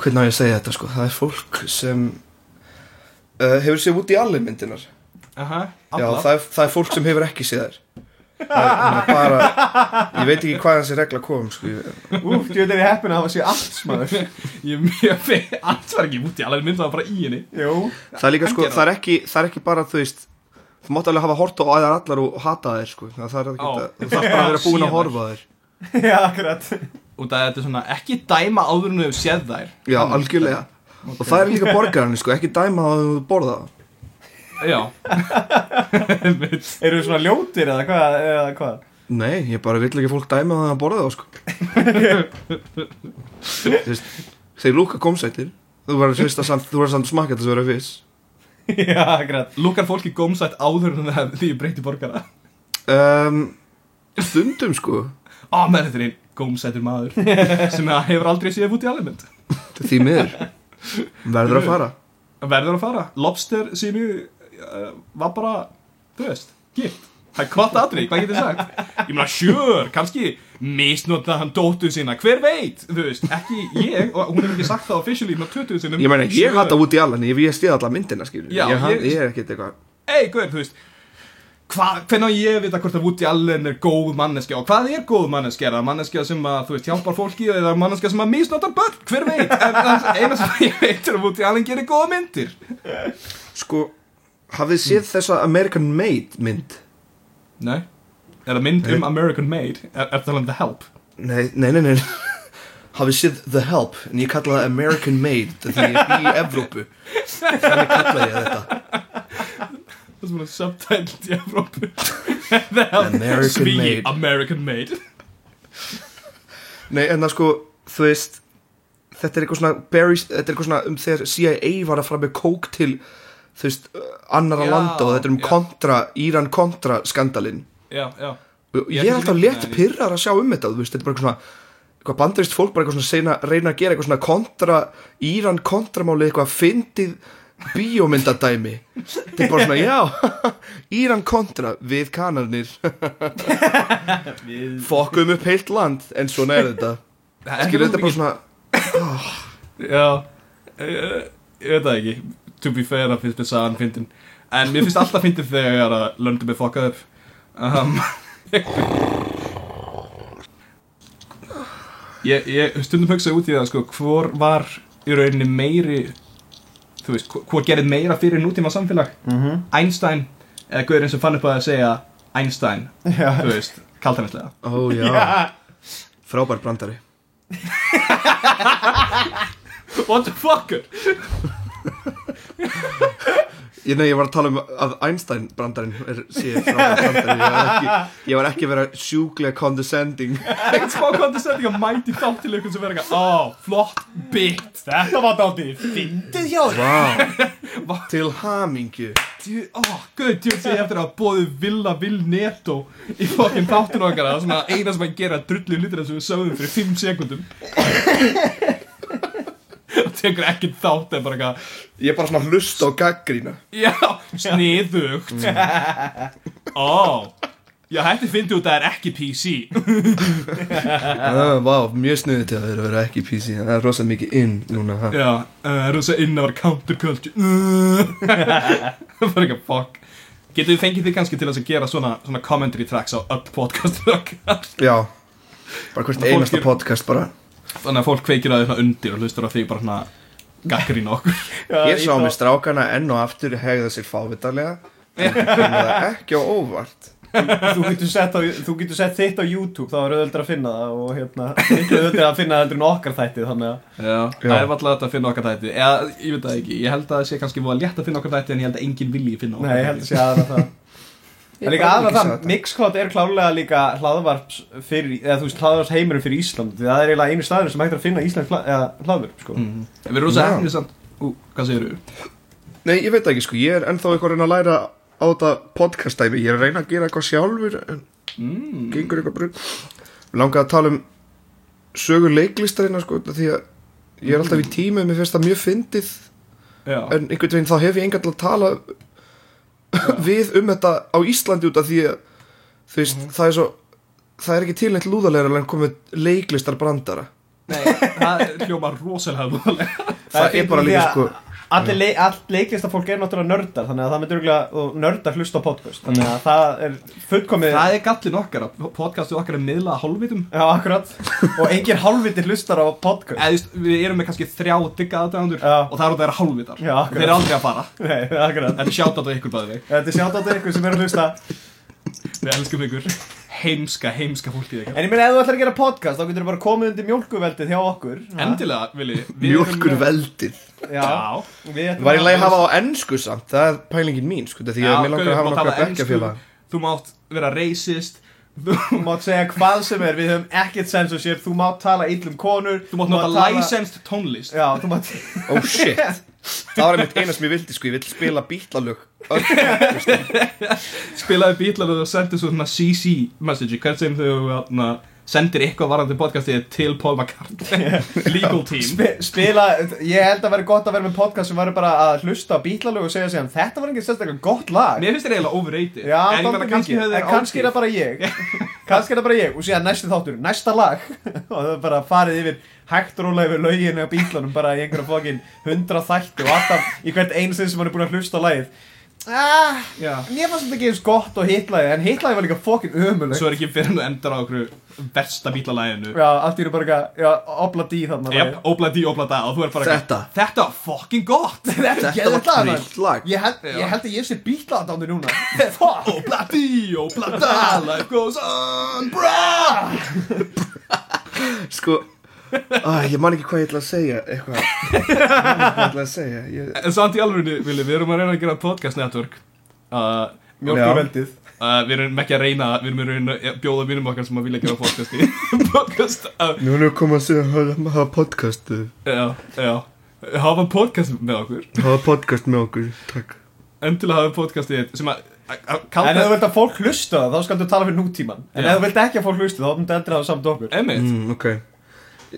Speaker 4: hvernig á ég að segja þetta sko það er fólk sem uh, hefur séð út í allir myndinar Já,
Speaker 3: Aha,
Speaker 4: það er, það er fólk sem hefur ekki séð þær það er hérna, bara ég veit ekki hvað þessi regla kom sko. ég-
Speaker 2: Úf, þú veit er ég heppin að hafa sér allt smaður
Speaker 3: Ég er mjög fyrir, allt var ekki út í alveg mynd það var bara í henni
Speaker 2: Jú
Speaker 4: það er líka sko, það er ekki, það er ekki bara þú veist þú mátt alveg hafa hort á aðeins allar og hata þær sko það er ekki
Speaker 3: Ó.
Speaker 4: það, þú þarf bara að vera búin að horfa á þær
Speaker 2: Já, akkurat
Speaker 3: Út af þetta er svona, ekki dæma áður en þau séð þær
Speaker 4: Já, algjörlega og það er líka borgarinn sko, ekki dæma á að þú borða það
Speaker 3: Já Einmitt.
Speaker 2: Eru þau svona ljótir eða hvað? Eða hvað?
Speaker 4: Nei, ég bara vill ekki að fólk dæma það að borða það sko Þú veist, Þeir lúka komsættir Þú verður fyrst að samt, þú verður samt að smakka þess að vera fyrst
Speaker 2: Já, akkurat
Speaker 3: Lúkar fólki gómsætt áður en það því ég breyti borgara
Speaker 4: um, Stundum sko
Speaker 3: Á, menn þetta er einn gómsættur maður sem að hefur aldrei séð út í alveg mynd
Speaker 4: Því miður Verður að fara
Speaker 3: Verður að fara, lobster sínu uh, var bara, þú veist, gift Það er kvart atrið, hvað getur sagt? Ég meina, sure, kannski misnota hann dóttu sína, hver veit, þú veist, ekki ég, og hún hefur ekki sagt það officially með töttu sinum
Speaker 4: Ég meina, ég
Speaker 3: Sure.
Speaker 4: hata út í allan Ég, ég stíð alla myndina skilur
Speaker 3: Já,
Speaker 4: ég, ég,
Speaker 3: ég-
Speaker 4: ég er ekkert eitthvað
Speaker 3: Ey, guður, þú veist hva, Hvernig á ég að vita hvort að Woody Allen er góð manneskja Og hvað er góð manneskja? Er það manneskja sem að, þú veist, hjálpar fólki Eða er það manneskja sem að misnotar börn? Hver veit? En það eina sem ég veit er að Woody Allen gerir góða myndir
Speaker 4: Sko, Mm. hafið þið séð þessa American Made mynd?
Speaker 3: Nei Er það mynd um American Made? Er, er það um The Help?
Speaker 4: Nei, nei, nei, nei Hafið séð The Help En ég kalla það American Made Því ég bý í Evrópu Þannig kalla ég þetta
Speaker 3: Það er svona subtitled í Evrópu The Help
Speaker 4: American
Speaker 3: Svíi,
Speaker 4: Made.
Speaker 3: American Made
Speaker 4: Nei, en það sko, þú veist Þetta er eitthvað svona, Barry, þetta er eitthvað svona um þegar CIA var að fara með kók til þú veist, uh, annara
Speaker 3: Já,
Speaker 4: landa og þetta er um
Speaker 3: já.
Speaker 4: kontra, Íran kontra skandalinn.
Speaker 3: Já, já
Speaker 4: Og
Speaker 3: Ég
Speaker 4: Ég er
Speaker 3: ekki
Speaker 4: alltaf
Speaker 3: mynd-
Speaker 4: létt
Speaker 3: nei.
Speaker 4: pyrrar að sjá um þetta, þú veist, þetta er bara eitthvað svona eitthvað bandarist fólk bara eitthvað svona seina, reyna að gera eitthvað svona kontra, Íran kontramáli eitthvað fyndið bíómyndadæmi. Þetta er bara svona, já, Íran kontra við kanarnir. Fokkum upp heilt land, en svona er þetta.
Speaker 3: Það er
Speaker 4: Skilur
Speaker 3: ekki-
Speaker 4: þetta er bara svona...
Speaker 3: Já, ég, ég veit það ekki To be fair, það finnst mér sagan fyndin En mér finnst alltaf fyndin þegar að löndum er fokkað upp um, ég, ég stundum hugsa út í það sko, Hvor var í rauninni meiri Þú veist, hvo- hvor gerði meira fyrir nútíma samfélag -hmm. Einstein Eða Guðurinn sem fann upp á að segja Einstein,
Speaker 2: Já.
Speaker 3: þú veist kaltæmislega
Speaker 4: Ó já, frábær brandari
Speaker 3: What the fucker
Speaker 4: Ég, nei, ég var að tala um að Einstein brandarinn er, sé frábær brandari Ég var ekki, ég var ekki að vera sjúklega condescending
Speaker 3: Ekkert smá kondisending að mæti þátt til ykkur sem verður eitthvað Ó, flott bit Þetta var dátti
Speaker 5: Fyndið hjá þér
Speaker 4: Vá, til hamingju
Speaker 3: Djú- Ó, guð, djú, sé ég eftir að bóðu Villa Vill Neto í fokkin þáttur okkar Það sem að eina sem að gera drullu lítur sem við sögðum fyrir 5 sekundum Og tekur ekkert þátt eða bara eitthvað
Speaker 4: Ég er bara svona að hlusta á gaggrína
Speaker 3: Já, sniðugt Ó, já, hætti fyndi út að það er ekki PC
Speaker 4: ah, Vá, mjög snuðið til að þeir vera ekki PC Það er rosa mikið inn núna ha?
Speaker 3: Já, uh, rosa inn ára counterculture Það var eitthvað fokk Getum við fengið þig kannski til að gera svona, svona commentary tracks á öll podcastu okkar
Speaker 4: Já, bara hvert
Speaker 3: Fólk
Speaker 4: einasta
Speaker 3: er-
Speaker 4: podcast bara
Speaker 3: Þannig að fólk kveikir að þetta undir og hlustur á þig bara svona gaggrín okkur.
Speaker 4: Ég sá með strákana enn og aftur hegða sér fávitarlega En það er ekki á óvart
Speaker 2: Þú getur sett, á, þú getur sett þitt á YouTube þá er auðvitað að finna það og hérna miklu auðvitað að finna það heldur en okkar þætti þannig að
Speaker 3: Já, það er alltaf þetta að finna okkar þætti. Eða, ég veit það ekki, ég held að það sé kannski voða létt að finna okkar þætti en ég held að enginn vilji finna okkar
Speaker 2: Nei, ég held að sé aðra það Það er líka
Speaker 4: bara
Speaker 2: aðra
Speaker 4: ekki
Speaker 2: það,
Speaker 4: sá þetta.
Speaker 2: Mixcloud er klárlega líka hlaðvarps fyrir, eða þú veist, hlaðvarps heimurum fyrir Ísland því það er eiginlega einu staðurinn sem hægt er að finna Ísland hla, eða hlaðvarp, sko
Speaker 3: Mm. Við erum rosa
Speaker 4: Já.
Speaker 3: hefnir samt. Ú, hvað segir þú?
Speaker 4: Nei, ég veit ekki sko, ég er ennþá eitthvað að reyna að læra á þetta podcastæmi, ég er að reyna að gera eitthvað sjálfur en
Speaker 3: Mm,
Speaker 4: gengur eitthvað brugg Langaði að tala um sögur leiklistarina sko, út af því að ég er alltaf í tíma mér finnst það mjög fyndið
Speaker 3: Já,
Speaker 4: en einhvern veginn þá hef ég engan til að tala við um þetta á Íslandi út af því að þú veist, það er svo það er ekki til neitt lúðalegra en komið leiklistar brandara
Speaker 3: nei, það er hljóma rosalega voðalega.
Speaker 4: það, er bara
Speaker 2: fyndið
Speaker 4: líka
Speaker 2: því
Speaker 4: sko
Speaker 2: að Allir leik, all leiklistarfólk er náttúrulega nördar þannig að það myndir örgulega og nördar hlusta á podcast þannig að það er fullkomið
Speaker 3: Það er gallin okkar, að podcastu okkar er miðla hálfvitum.
Speaker 2: Já, akkurat og engin hálfviti hlustar á podcast
Speaker 3: Eða, þú veist, við erum með kannski þrjá digga aðdæðandur
Speaker 2: Já.
Speaker 3: og það eru þeirra hálfvitar.
Speaker 2: Já, akkurat.
Speaker 3: Þeir eru aldrei að fara.
Speaker 2: Nei, akkurat
Speaker 3: En sjátt á ykkur bæði veg.
Speaker 2: Þetta er sjátt á ykkur sem er að hlusta
Speaker 3: Við elskum ykkur. Heimska, heimska fólkið ykkar.
Speaker 2: En ég meina, ef þú ætlar að gera podcast, þá getur þú bara komið undir mjólkuveldið hjá okkur.
Speaker 3: Endilega, Vili. við erum-
Speaker 4: mjölkur veldið
Speaker 2: Já.
Speaker 3: Já.
Speaker 2: Við ætlum
Speaker 4: Var ég læg að hafa á ennsku samt, það er pælingin mín sko, því að mér langar að hafa nokkra bekkjafélag
Speaker 3: Þú mátt vera racist Þú,
Speaker 2: Þú mátt segja hvað sem er, við höfum ekkert sensorship, þú mátt tala illum konur.
Speaker 3: þú mátt nota
Speaker 2: tala-
Speaker 3: licensed tónlist
Speaker 2: Já, þú mátt...
Speaker 4: Oh shit Það var einmitt eina sem ég vildi sko, ég vill spila bítlalög
Speaker 3: Spilaði bílar og sendir svo svona CC message Hvert sem þau na, sendir eitthvað varandi podcastið til Paul McCartney Legal team
Speaker 2: Spi- Spila, ég held að vera gott að vera með podcast sem var bara að hlusta á bítlalög og segja síðan, þetta var enginn sérstaklega gott lag.
Speaker 3: Mér finnst þér eiginlega overrated
Speaker 2: Já,
Speaker 3: En ég
Speaker 2: dálítið
Speaker 3: meina kannski
Speaker 2: mikið.
Speaker 3: hefði
Speaker 2: En kannski er það bara ég Kannski er það bara ég Og síðan næsti þáttur, næsta lag Og það er bara farið yfir hægt rólega yfir löginu á bílunum Bara í einhverja fókin hundra þætti Og alltaf í hvert einu sinn sem hann er búin að hlusta á lagið Ah,
Speaker 3: Já.
Speaker 2: mér fannst þetta ekki eins gott og hitlagið En hitlagið var líka fókin ömuleg
Speaker 3: Svo er ekki fyrir hann endar á okkur versta bílalæginu
Speaker 2: Já, allt í eru bara eitthvað Já, obla dí þarna
Speaker 3: Jep, óblað dí, óblað da og þú er bara eitthvað,
Speaker 4: Þetta.
Speaker 3: Þetta var fucking gott
Speaker 2: Þetta
Speaker 4: Þetta var trillt lag
Speaker 2: Ég held,
Speaker 3: Já.
Speaker 2: ég held að ég sé bíla þetta á mig núna Fuck
Speaker 3: Óblað dí, óblað da Life goes on, brah
Speaker 4: Sko, ah, ég man ekki hvað ég ætla að segja Eitthvað Ég man ekki Hvað ég ætla að segja ég...
Speaker 3: En samt í alvörinu, Vili, við erum að reyna að gera podcast network uh,
Speaker 2: Mjölkurveldið
Speaker 3: uh, Við erum ekki að reyna, við erum að reyna að bjóða vinum okkar sem að vilja gera podcast í Podcast, uh,
Speaker 4: Nú erum við komið að segja að hafa- hafa podcast uh,
Speaker 3: já, já Hafa podcast með okkur
Speaker 4: Hafa podcast með okkur, takk
Speaker 3: Endilega hafa podcast í sem að, að, að
Speaker 2: En
Speaker 3: kalda
Speaker 2: ef þú vilt að fólk hlusta það, þá skaldu tala fyrir nútíman En
Speaker 3: Já.
Speaker 2: ef þú vilt ekki að fólk hlusta það, þá myndi aldrei hafa samt okkur
Speaker 3: Emmett,
Speaker 4: mm, Ok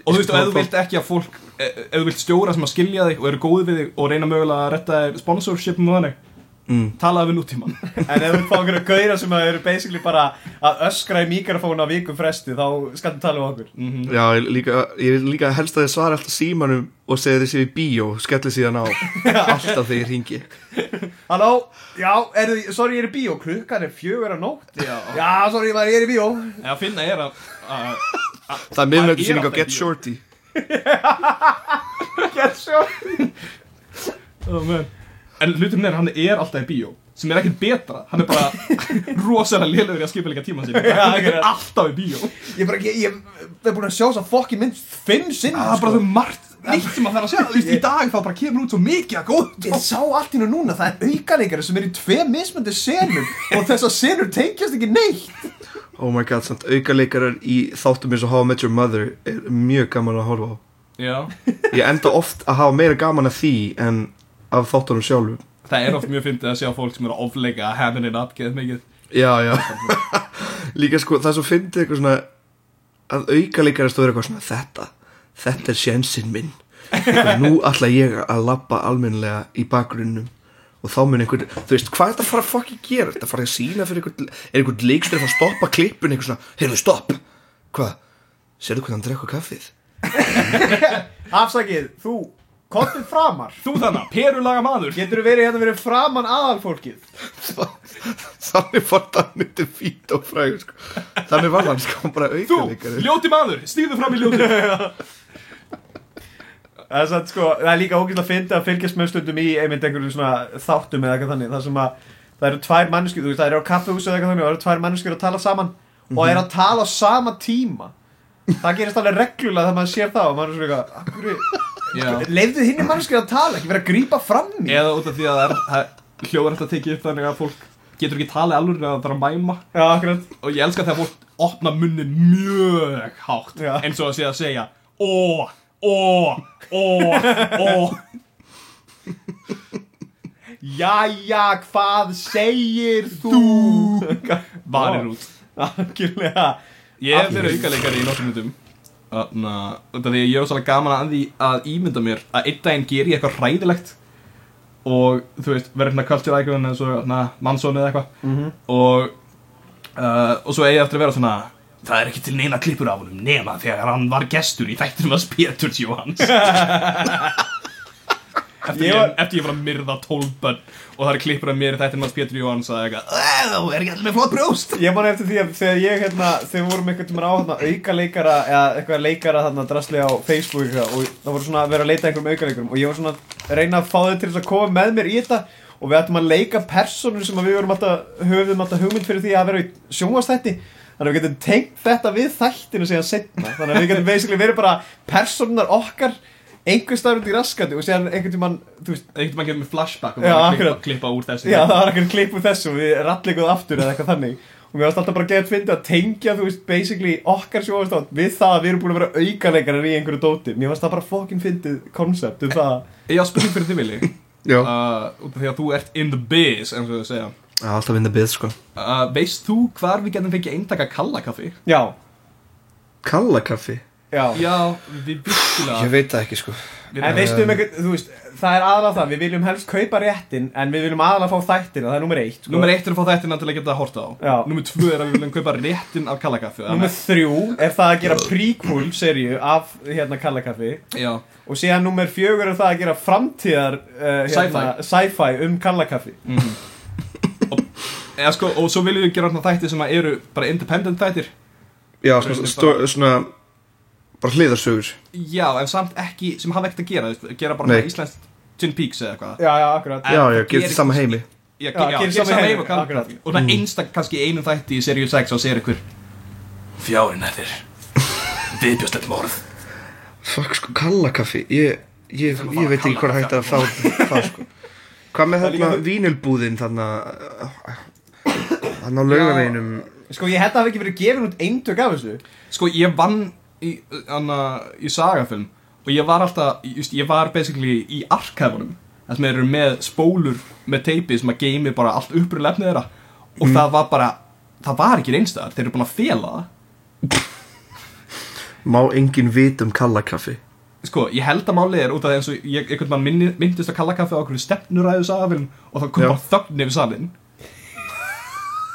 Speaker 3: og þú veist, og ef þú vilt ekki að fólk e- ef þú vilt stjóra sem að skilja þig og eru góði við þig og reyna mögulega að retta þér sponsorshipum og þannig mm. talaðu við nútíman
Speaker 2: En ef þú vilt fá okkur að gauðra sem að eru basically bara að öskra í mikrofónu á vikum fresti Þá skaldu tala um okkur
Speaker 4: Já, ég líka, ég vil líka helst að þið svara alltaf símanum og segja þið séu í bíó, skelli síðan á alltaf þegar ég ringi
Speaker 2: Halló, já, er þið, sorry ég er í bíó, klukkan er fjögur á nótt
Speaker 3: Já.
Speaker 2: já sorry maður, ég er í bíó
Speaker 3: eða finna er að, að
Speaker 4: Það er miðnættu síning á
Speaker 3: alltaf í bíó.
Speaker 4: Get Shorty
Speaker 2: Get sure
Speaker 3: oh, man. en hlutum er, hann er alltaf í bíó sem er ekkert betra, hann er bara rosalega lélegur í að skipa líka tíma sín hann er
Speaker 2: akkurat.
Speaker 3: alltaf í bíó
Speaker 5: Ég bara, ég, ég, ég er búin að sjá þess að fokkin mynd fimm sko. sinn
Speaker 3: það er Ah, bara þau margt nýtt sem að það er að segja þú veist, í dag þá bara kemur út svo mikið að góð
Speaker 5: Ég sá allt hérna núna, það er aukalegari sem er í tvei mismöndi senum og þessar senur tengjast ekki neitt
Speaker 4: Oh my god, samt aukaleikarar í þáttum eins og How I Met Your Mother er mjög gaman að horfa á.
Speaker 3: já,
Speaker 4: Ég enda oft að hafa meira gaman að því en af þáttunum sjálfum.
Speaker 3: það er oft mjög fyndið að sjá fólk sem eru að ofleika hamminin up, geðið mikið
Speaker 4: Já, já. Líka sko, það er svo fyndið eitthvað svona að aukaleikarar stóður eitthvað svona þetta. Þetta er sjensinn minn. Og nú ætla ég að labba almennilega í bakgrunnum og þá mun einhvern, þú veist, hvað er þetta að fara að fokki gera? Þetta að fara að sína fyrir einhvern, er einhvern leikstur að fara að stoppa klippun einhvern svona, heyrðu stopp, hvað, sérðu hvernig hann drekka kaffið?
Speaker 5: Afsakið, þú, komdu framar
Speaker 3: þú þannig, perulaga maður
Speaker 5: Getur verið hérna verið framan aðalfólkið
Speaker 4: Þannig var það myndi fít og frægur sko. Þannig var hann sko bara
Speaker 3: þú,
Speaker 4: aukalikari
Speaker 3: ljóti maður, stýðu fram í ljóti
Speaker 2: Það er, satt, sko, það er líka ógætilega að finna að fylgjast með stundum í einmitt einhverjum svona þáttum eða eitthvað þannig þar sem að það eru tvær manneskjur, þú veist það eru á kaffehúsi eða eitthvað þannig og það eru tvær manneskjur að tala saman og það eru að tala á sama tíma það gerist alveg reglulega þegar maður sér það og maður er svona eitthvað, akkur
Speaker 5: Leifðu hinni mannskir að tala, ekki verið að grípa fram í
Speaker 3: eða út af því að það er, það er hljóðar eftir að tekið upp þannig að fólk getur ekki talið alveg að það er að mæma
Speaker 2: já, akkurat,
Speaker 3: og ég elska þegar fólk opna munnin mjög hátt
Speaker 2: Já.
Speaker 3: eins og að sé að segja ó, ó, ó, ó
Speaker 2: jæja, hvað segir þú?
Speaker 3: varir út
Speaker 2: Algjörlega
Speaker 3: ég hef verið aukaleikari í nokkrum myndum þannig að því að ég er svolítið gaman að því að ímynda mér að einn daginn ger ég eitthvað hræðilegt og þú veist, verður hérna culture icon eins og na, mannsson eða eitthvað
Speaker 2: Mhm.
Speaker 3: og, uh, og svo eigi ég eftir að vera svona það er ekki til neina klippur af honum nema þegar hann var gestur í þættinum að Spirturs Jóhans eftir
Speaker 2: Ég
Speaker 3: ég,
Speaker 2: var-
Speaker 3: eftir ég var að myrða tólbönn og það er klippur af mér í þættinum að Spirturs Jóhans að eitthvað, "Æ, þú er ekki allir með flott brjóst
Speaker 2: Ég man eftir því að þegar ég, hérna, þegar við vorum einhvern tímann á hérna, auka leikara eða eitthvað leikara þarna drasli á Facebook eitthvað, og það voru svona að vera að leita að einhverjum auka leikarum og ég var svona að reyna að fá þau til þess að koma með mér í þetta og við ættum að leika personur sem að við vorum alltaf, höfum alltaf hugmynd fyrir því að vera í sjónvastætti þannig að við getum tengt þetta við þættinu síðan setna þannig að við getum basically verið bara personar okkar einhver staður út í raskandi og síðan einhvern tímann, þú veist,
Speaker 3: einhvern veginn kemur með flashback og
Speaker 2: Já,
Speaker 3: bara klippa,
Speaker 2: akkurat.
Speaker 3: klippa úr þessu
Speaker 2: Já, það var ekkert klipp úr þessu og við rallikuð aftur eða eitthvað þannig og mér varst alltaf bara geðt fyndið að tengja, þú veist, basically okkar sjóðastátt við það að við erum búin að vera aukaleikarar í einhverju dóti mér varst það bara fokkin fyndið koncept um það
Speaker 3: Ég á spurning fyrir þig Vili uh,
Speaker 4: Já,
Speaker 3: út af því að þú ert in the biz eins og þau segja
Speaker 4: Það er alltaf vinda bið sko
Speaker 3: uh, veist þú hvar við getum fengið eintaka kallakaffi?
Speaker 2: Já,
Speaker 4: Kalla kaffi?
Speaker 2: já,
Speaker 3: Já, við virkilega
Speaker 4: Ég veit það ekki sko
Speaker 3: við,
Speaker 2: En veistu um eitthvað, þú veist, það er aðalega það við viljum helst kaupa réttin en við viljum aðalega fá þættina, það er nummer eitt sko.
Speaker 3: Númer eitt er að fá þættina til að geta að horta á
Speaker 2: Já.
Speaker 3: Númer tvö er að við viljum kaupa réttin af kallakaffi
Speaker 2: Númer þrjú er það að gera prequel serju af hérna Kallakaffi
Speaker 3: Já,
Speaker 2: og síðan númer fjögur er það að gera framtíðar uh, hérna, sci-fi um Kallakaffi
Speaker 3: eða sko, og svo viljum við gera þarna þætti sem að eru bara independent þættir
Speaker 4: Já, svona, stó, svona bara hliðarsögur
Speaker 3: Já, en samt ekki, sem hafa ekkert að gera þú veist, gera bara
Speaker 4: Nei.
Speaker 3: svona íslenskt Twin Peaks eða eitthvað
Speaker 2: Já, já, akkurat
Speaker 4: Já, já,
Speaker 3: það
Speaker 4: gerir
Speaker 3: gerir-
Speaker 4: þetta sama heimi Mm.
Speaker 3: Já,
Speaker 2: Já,
Speaker 3: já,
Speaker 2: gerir
Speaker 3: gera
Speaker 2: sama
Speaker 3: sama
Speaker 2: heim,
Speaker 3: heim og kalla
Speaker 2: akkurat.
Speaker 3: kaffi. Og það einstak kannski í einum þætti í seríu 6 og sér ykkur Fjárin eftir Viðbjóðslegt morð
Speaker 4: Fuck sko, kalla kaffi Ég, ég,
Speaker 3: Þurfum að
Speaker 4: ég
Speaker 3: fara
Speaker 4: veit
Speaker 3: að
Speaker 4: ekki hvað
Speaker 3: kalla
Speaker 4: hægt að fá það sko Hvað með
Speaker 2: líka
Speaker 4: þarna
Speaker 2: þú-
Speaker 4: vínilbúðin þarna Þannig á laugaveginum
Speaker 2: Sko ég held að það hafi ekki verið gefin út eintök af þessu
Speaker 3: Sko, ég vann í, anna, í sagafilm Og ég var alltaf, just, ég var basically í arkafunum Það sem eru með spólur með teipi sem að geimi bara allt upprur lefnið þeirra Og
Speaker 4: Mm.
Speaker 3: það var bara, það var ekki einstæðar Þeir eru búin að fela það
Speaker 4: Má engin vit um kalla kaffi
Speaker 3: Sko, ég held að málið er út af því eins og ég, einhvern mann minni, myndist að kalla kaffi á okkur stefnuræðu sagafilm og þá kom
Speaker 4: Já.
Speaker 3: bara þögn yfir salin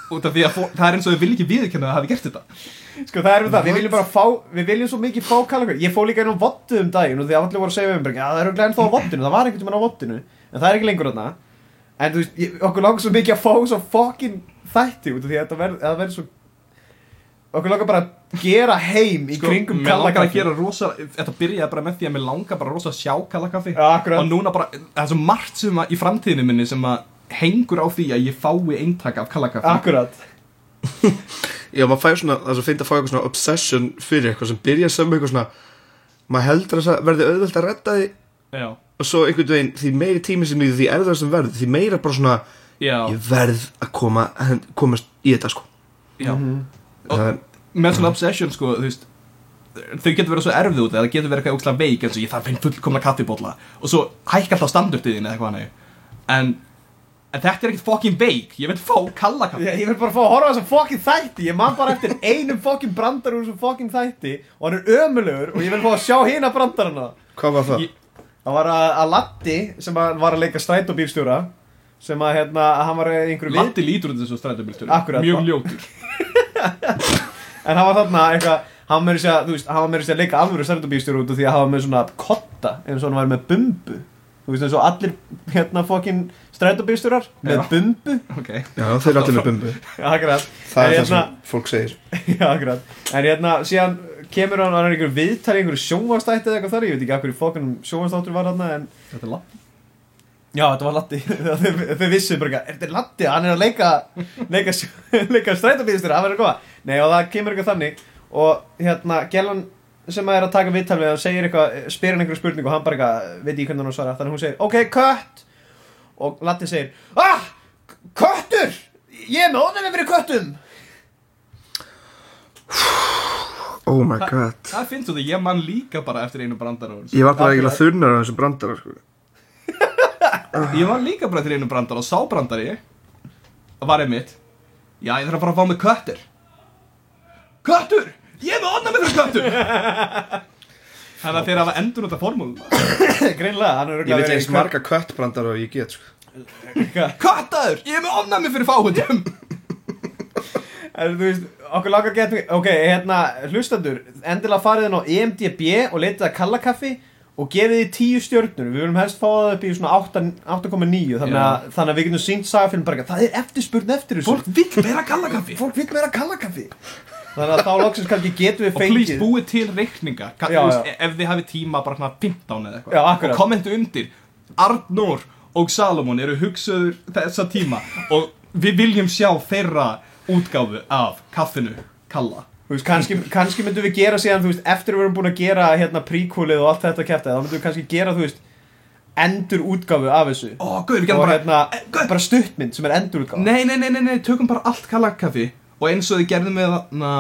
Speaker 3: út af því að fó, það er eins og þau vilja ekki viðurkenna að það hafi gert þetta
Speaker 2: Sko það er við það, við viljum bara fá Við viljum svo mikið fá kallakaffi Ég fó líka inn á vottu um daginn og því að allir voru að segja um bara, Já það eru glæðin þá á vottinu, það var einhvern tímann á vottinu En það er ekki lengur þarna En þú veist, ég, okkur langar svo mikið að fá svo fokkin þætti út af því að þetta verð- að það verður svo Okkur langar bara að gera heim í kringum
Speaker 3: mér langar Sko, að
Speaker 2: kallakaffi
Speaker 3: gera rosa, þetta byrjaði bara með því að mér langar bara rosa að sjá kalla kaffi
Speaker 2: Já, akkurat.
Speaker 3: og núna bara, það er svo margt sem að í framtíðinu minni sem að hengur á því að ég fái eintaka af kallakaffi
Speaker 2: Akkurat
Speaker 4: Já, maður fær svona, það er svo fint að fá eitthvað svona obsession fyrir eitthvað sem byrja sem eitthvað svona maður heldur að það verði auðvelt að redda því
Speaker 3: Já,
Speaker 4: og svo einhvern veginn, því meiri tími sem líður því erðar sem verður, því meira bara svona
Speaker 3: já,
Speaker 4: ég verð að koma, komast í þetta sko
Speaker 3: já Og-
Speaker 4: það er,
Speaker 3: Með svona obsession sko, þú veist Þau getur verið svo erfið út eða getur verið eitthvað ógslag veik eins og ég þarf einn fullkomna kaffibólla og svo hækka alltaf standardiðin eða eitthvað hannig en, en þetta er ekkert fokkin veik ég vil fá kalla kaffi
Speaker 2: Ég vil bara fá að horfa á þessum fokkin þætti Ég man bara eftir einum fokkin brandar úr þessum fokkin þætti Og hann er ömulegur og ég vil fá að sjá hina brandarana
Speaker 4: hvað var það?
Speaker 2: Ég- Það var að, að Latti sem að var að leika strætóbílstjóra Sem að hérna, að hann var í einhverju við-
Speaker 3: Landi lítur út eins og stræðabildurinn
Speaker 2: Akkurat.
Speaker 3: Mjög ljótur
Speaker 2: En hann var þarna eitthvað Hann var meira að segja, þú veist, hann var meira að segja að leika alvöru strætóbílstjóra út af Því að hann var með svona kotta eins og hann var með bumbu Þú veist eins og allir hérna fokkin strætóbílstjórar Með
Speaker 3: Já.
Speaker 2: bumbu
Speaker 3: okay.
Speaker 4: Já, þeir eru allir með bumbu hérna-
Speaker 2: Akkurat
Speaker 4: Það er
Speaker 2: En
Speaker 4: það sem fólk segir
Speaker 2: hérna, Já, akkurat. En hérna, síðan kemur hann, hann er einhver viðtal í einhverju sjónvastætti eða eitthvað þar, ég veit ekki af hverju fokkunum sjónvastáttur var hann, en...
Speaker 3: Þetta er langt
Speaker 2: Já, þetta var Latti. þau, þau vissu bara eitthvað, er þetta Latti? Hann er að leika, leika, sjó- leika strætóbíðistur, hann verður að koma. Nei, og það kemur eitthvað þannig og hérna, Gellan sem er að taka viðtal við hann segir eitthvað, spyr hann einhverju spurningu og hann bara eitthvað, veit ég hvernig hann á að svara, þannig að hún segir, ok, kött! Og Latti segir, ah, k- köttur! Ég er með ónæmi fyrir köttum!
Speaker 4: Oh my god
Speaker 3: Það finnst þú því, ég man líka bara eftir einu brandaróður
Speaker 4: Ég var bara eiginlega þurnar á þessum brandara sko.
Speaker 3: Ég man líka bara eftir einu brandar og sá brandar ég Var ég mitt Já, ég þarf að fara að fá mig köttur Köttur! Ég er með onna með þér köttur Þannig að þeir hafa endur út af formúlum
Speaker 2: Greinlega, hann er örugglega
Speaker 4: Ég veit
Speaker 2: verið
Speaker 4: eins
Speaker 2: í kött-
Speaker 4: marga kött brandara og ég get sko.
Speaker 3: Köttaður! Ég er með ofnæmi fyrir fáhundum
Speaker 2: En þú veist, okkur langar að geta Ok, hérna, hlustandur Endilega farið inn á E EMDB og leitið að kalla kaffi Og gefið því tíu stjörnur Við viljum helst fá það upp í svona 8 8,9 þannig, að- þannig að við getum sínt sagafilm bara eitthvað, Það er eftirspurn eftir þessu
Speaker 3: Fólk vill meira kallakaffi
Speaker 2: fólk vil meira kalla kaffi Þannig að þá loksins kannski getum við
Speaker 3: Og please
Speaker 2: fengið
Speaker 3: búið til reikninga Ka-
Speaker 2: Já,
Speaker 3: þú veist, e-
Speaker 2: já.
Speaker 3: Ef þið hafið tíma bara svona 15 eða
Speaker 2: Já,
Speaker 3: eitthvað
Speaker 2: akkurat.
Speaker 3: Og kommentu undir Arnór og Salomon eru hugsaður þessa tíma Og við viljum sjá þeirra útgáfu af kaffinu Kalla
Speaker 2: Þú veist, kannski, kannski myndum við gera síðan, þú veist, eftir við erum búin að gera hérna prequelið og allt þetta kæftið, þá myndum við kannski gera, þú veist, endur útgáfu af þessu.
Speaker 3: Ó, guður, við gerum
Speaker 2: og
Speaker 3: bara
Speaker 2: hérna,
Speaker 3: Eh, gaur,
Speaker 2: bara stuttmynd sem er endur útgáfa.
Speaker 3: Nei, nei, nei, nei, nei, tökum bara allt kallakaffi Og eins og þið gerðum með na,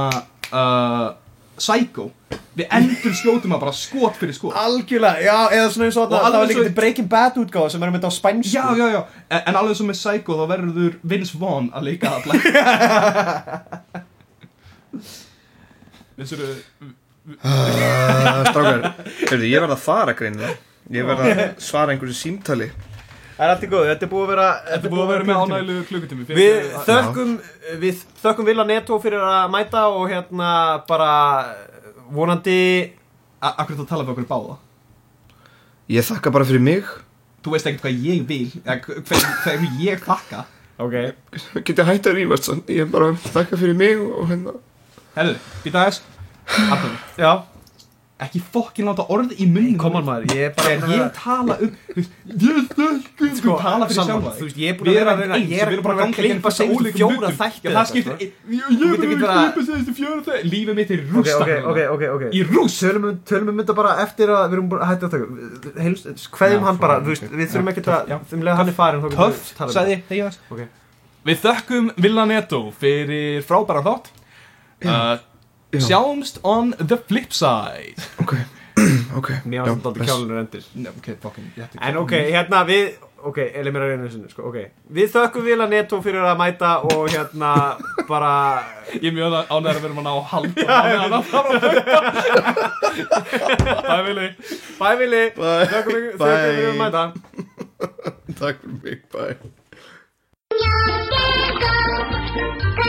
Speaker 3: uh, Psycho Við endur skjótum að bara skot fyrir skot
Speaker 2: Algjörlega, já, eða svona eins og
Speaker 3: Og
Speaker 2: það Það
Speaker 3: alveg
Speaker 2: var líka
Speaker 3: svo-
Speaker 2: til Breaking Bad útgáfa sem er um þetta á spænsku
Speaker 3: Já, já, já, en, en alveg sem með Psycho þá verður Vince Vaughn að leika alla Vissur
Speaker 4: uh, Strákar, heyrðu, ég verð að fara greinlega Ég verð að svara einhverju símtali
Speaker 2: Það er allt í góðu, þetta er búið að vera
Speaker 3: Þetta er búið að vera með ánægilegu klukkutími fyrir-
Speaker 2: Við þökkum, við þökkum Vila Neto fyrir að mæta og hérna bara vonandi
Speaker 3: A- Akkur það tala fyrir okkur báða
Speaker 4: Ég þakka bara fyrir mig
Speaker 3: Þú veist ekkert hvað ég vil eða hver- hver- Hverju ég þakka
Speaker 2: Ok
Speaker 4: Getið hægt að rífast sann Ég bara þakka fyrir mig og hérna
Speaker 3: Herðu, býta aðeins Arnur,
Speaker 2: Já,
Speaker 3: Ekki fokkin láta orð í munni
Speaker 2: koman maður, ég er bara Sko,
Speaker 3: Þegar ég tala um þú veist, Ég þökkum Þú tala fyrir
Speaker 2: Salman,
Speaker 3: sjálfa
Speaker 2: þú
Speaker 3: þig.
Speaker 2: veist, ég er búin að
Speaker 3: Við
Speaker 2: vera
Speaker 3: erum
Speaker 2: að reyna-
Speaker 3: eins,
Speaker 2: ég er
Speaker 3: við erum
Speaker 2: búin að
Speaker 3: bara
Speaker 2: vera að
Speaker 3: gegn
Speaker 2: klippa
Speaker 3: fullt af
Speaker 2: seinustu
Speaker 3: ólíkum
Speaker 2: fjóra
Speaker 3: hlutum.
Speaker 2: þætti
Speaker 3: Já,
Speaker 2: eða eitthvað,
Speaker 3: það skiptir
Speaker 2: sko.
Speaker 3: Ég
Speaker 2: Þú
Speaker 3: er
Speaker 2: getur ekki
Speaker 3: bara
Speaker 2: bara-
Speaker 3: að klippa þessu fjóra þætti Lífið mitt er
Speaker 2: Ok,
Speaker 3: rústa
Speaker 2: ok, ok, ok, ok
Speaker 3: Í rúst
Speaker 2: Tölum um, tölum um þetta bara eftir að við erum búin að hætta að taka Heilst,
Speaker 3: Já,
Speaker 2: hverjum hann bara,
Speaker 3: fólk,
Speaker 2: þú veist,
Speaker 3: ok.
Speaker 2: við þurfum
Speaker 3: Já,
Speaker 2: ekki
Speaker 3: töff,
Speaker 2: að
Speaker 3: já.
Speaker 2: Þegar hann er farin, þá getum við
Speaker 3: Töff,
Speaker 2: talað um
Speaker 3: sagði ég
Speaker 2: það. Ok.
Speaker 3: Við þökkum Villaneto fyrir frábæra þátt uh,
Speaker 4: Já.
Speaker 3: Sjáumst on the flip side
Speaker 4: Ok, ok
Speaker 2: Mér
Speaker 4: já,
Speaker 2: var þetta
Speaker 4: bless.
Speaker 2: kjálunur endir
Speaker 3: Nei, ok, fucking ég ætti-
Speaker 2: En ok, hérna við Ok, elið mér að reyna þessu sko, okay. Við þökkum Vila Neto fyrir að mæta og hérna bara
Speaker 3: Ég er mjög ánægður að vera mann á hald og ánægður að fara að fæta Það er vilji
Speaker 2: Bæ Vili,
Speaker 4: Bye.
Speaker 2: þökkum við- þökkum
Speaker 4: Bye.
Speaker 2: við fyrir að mæta
Speaker 4: Takk fyrir mig, bye
Speaker 6: Yo llego,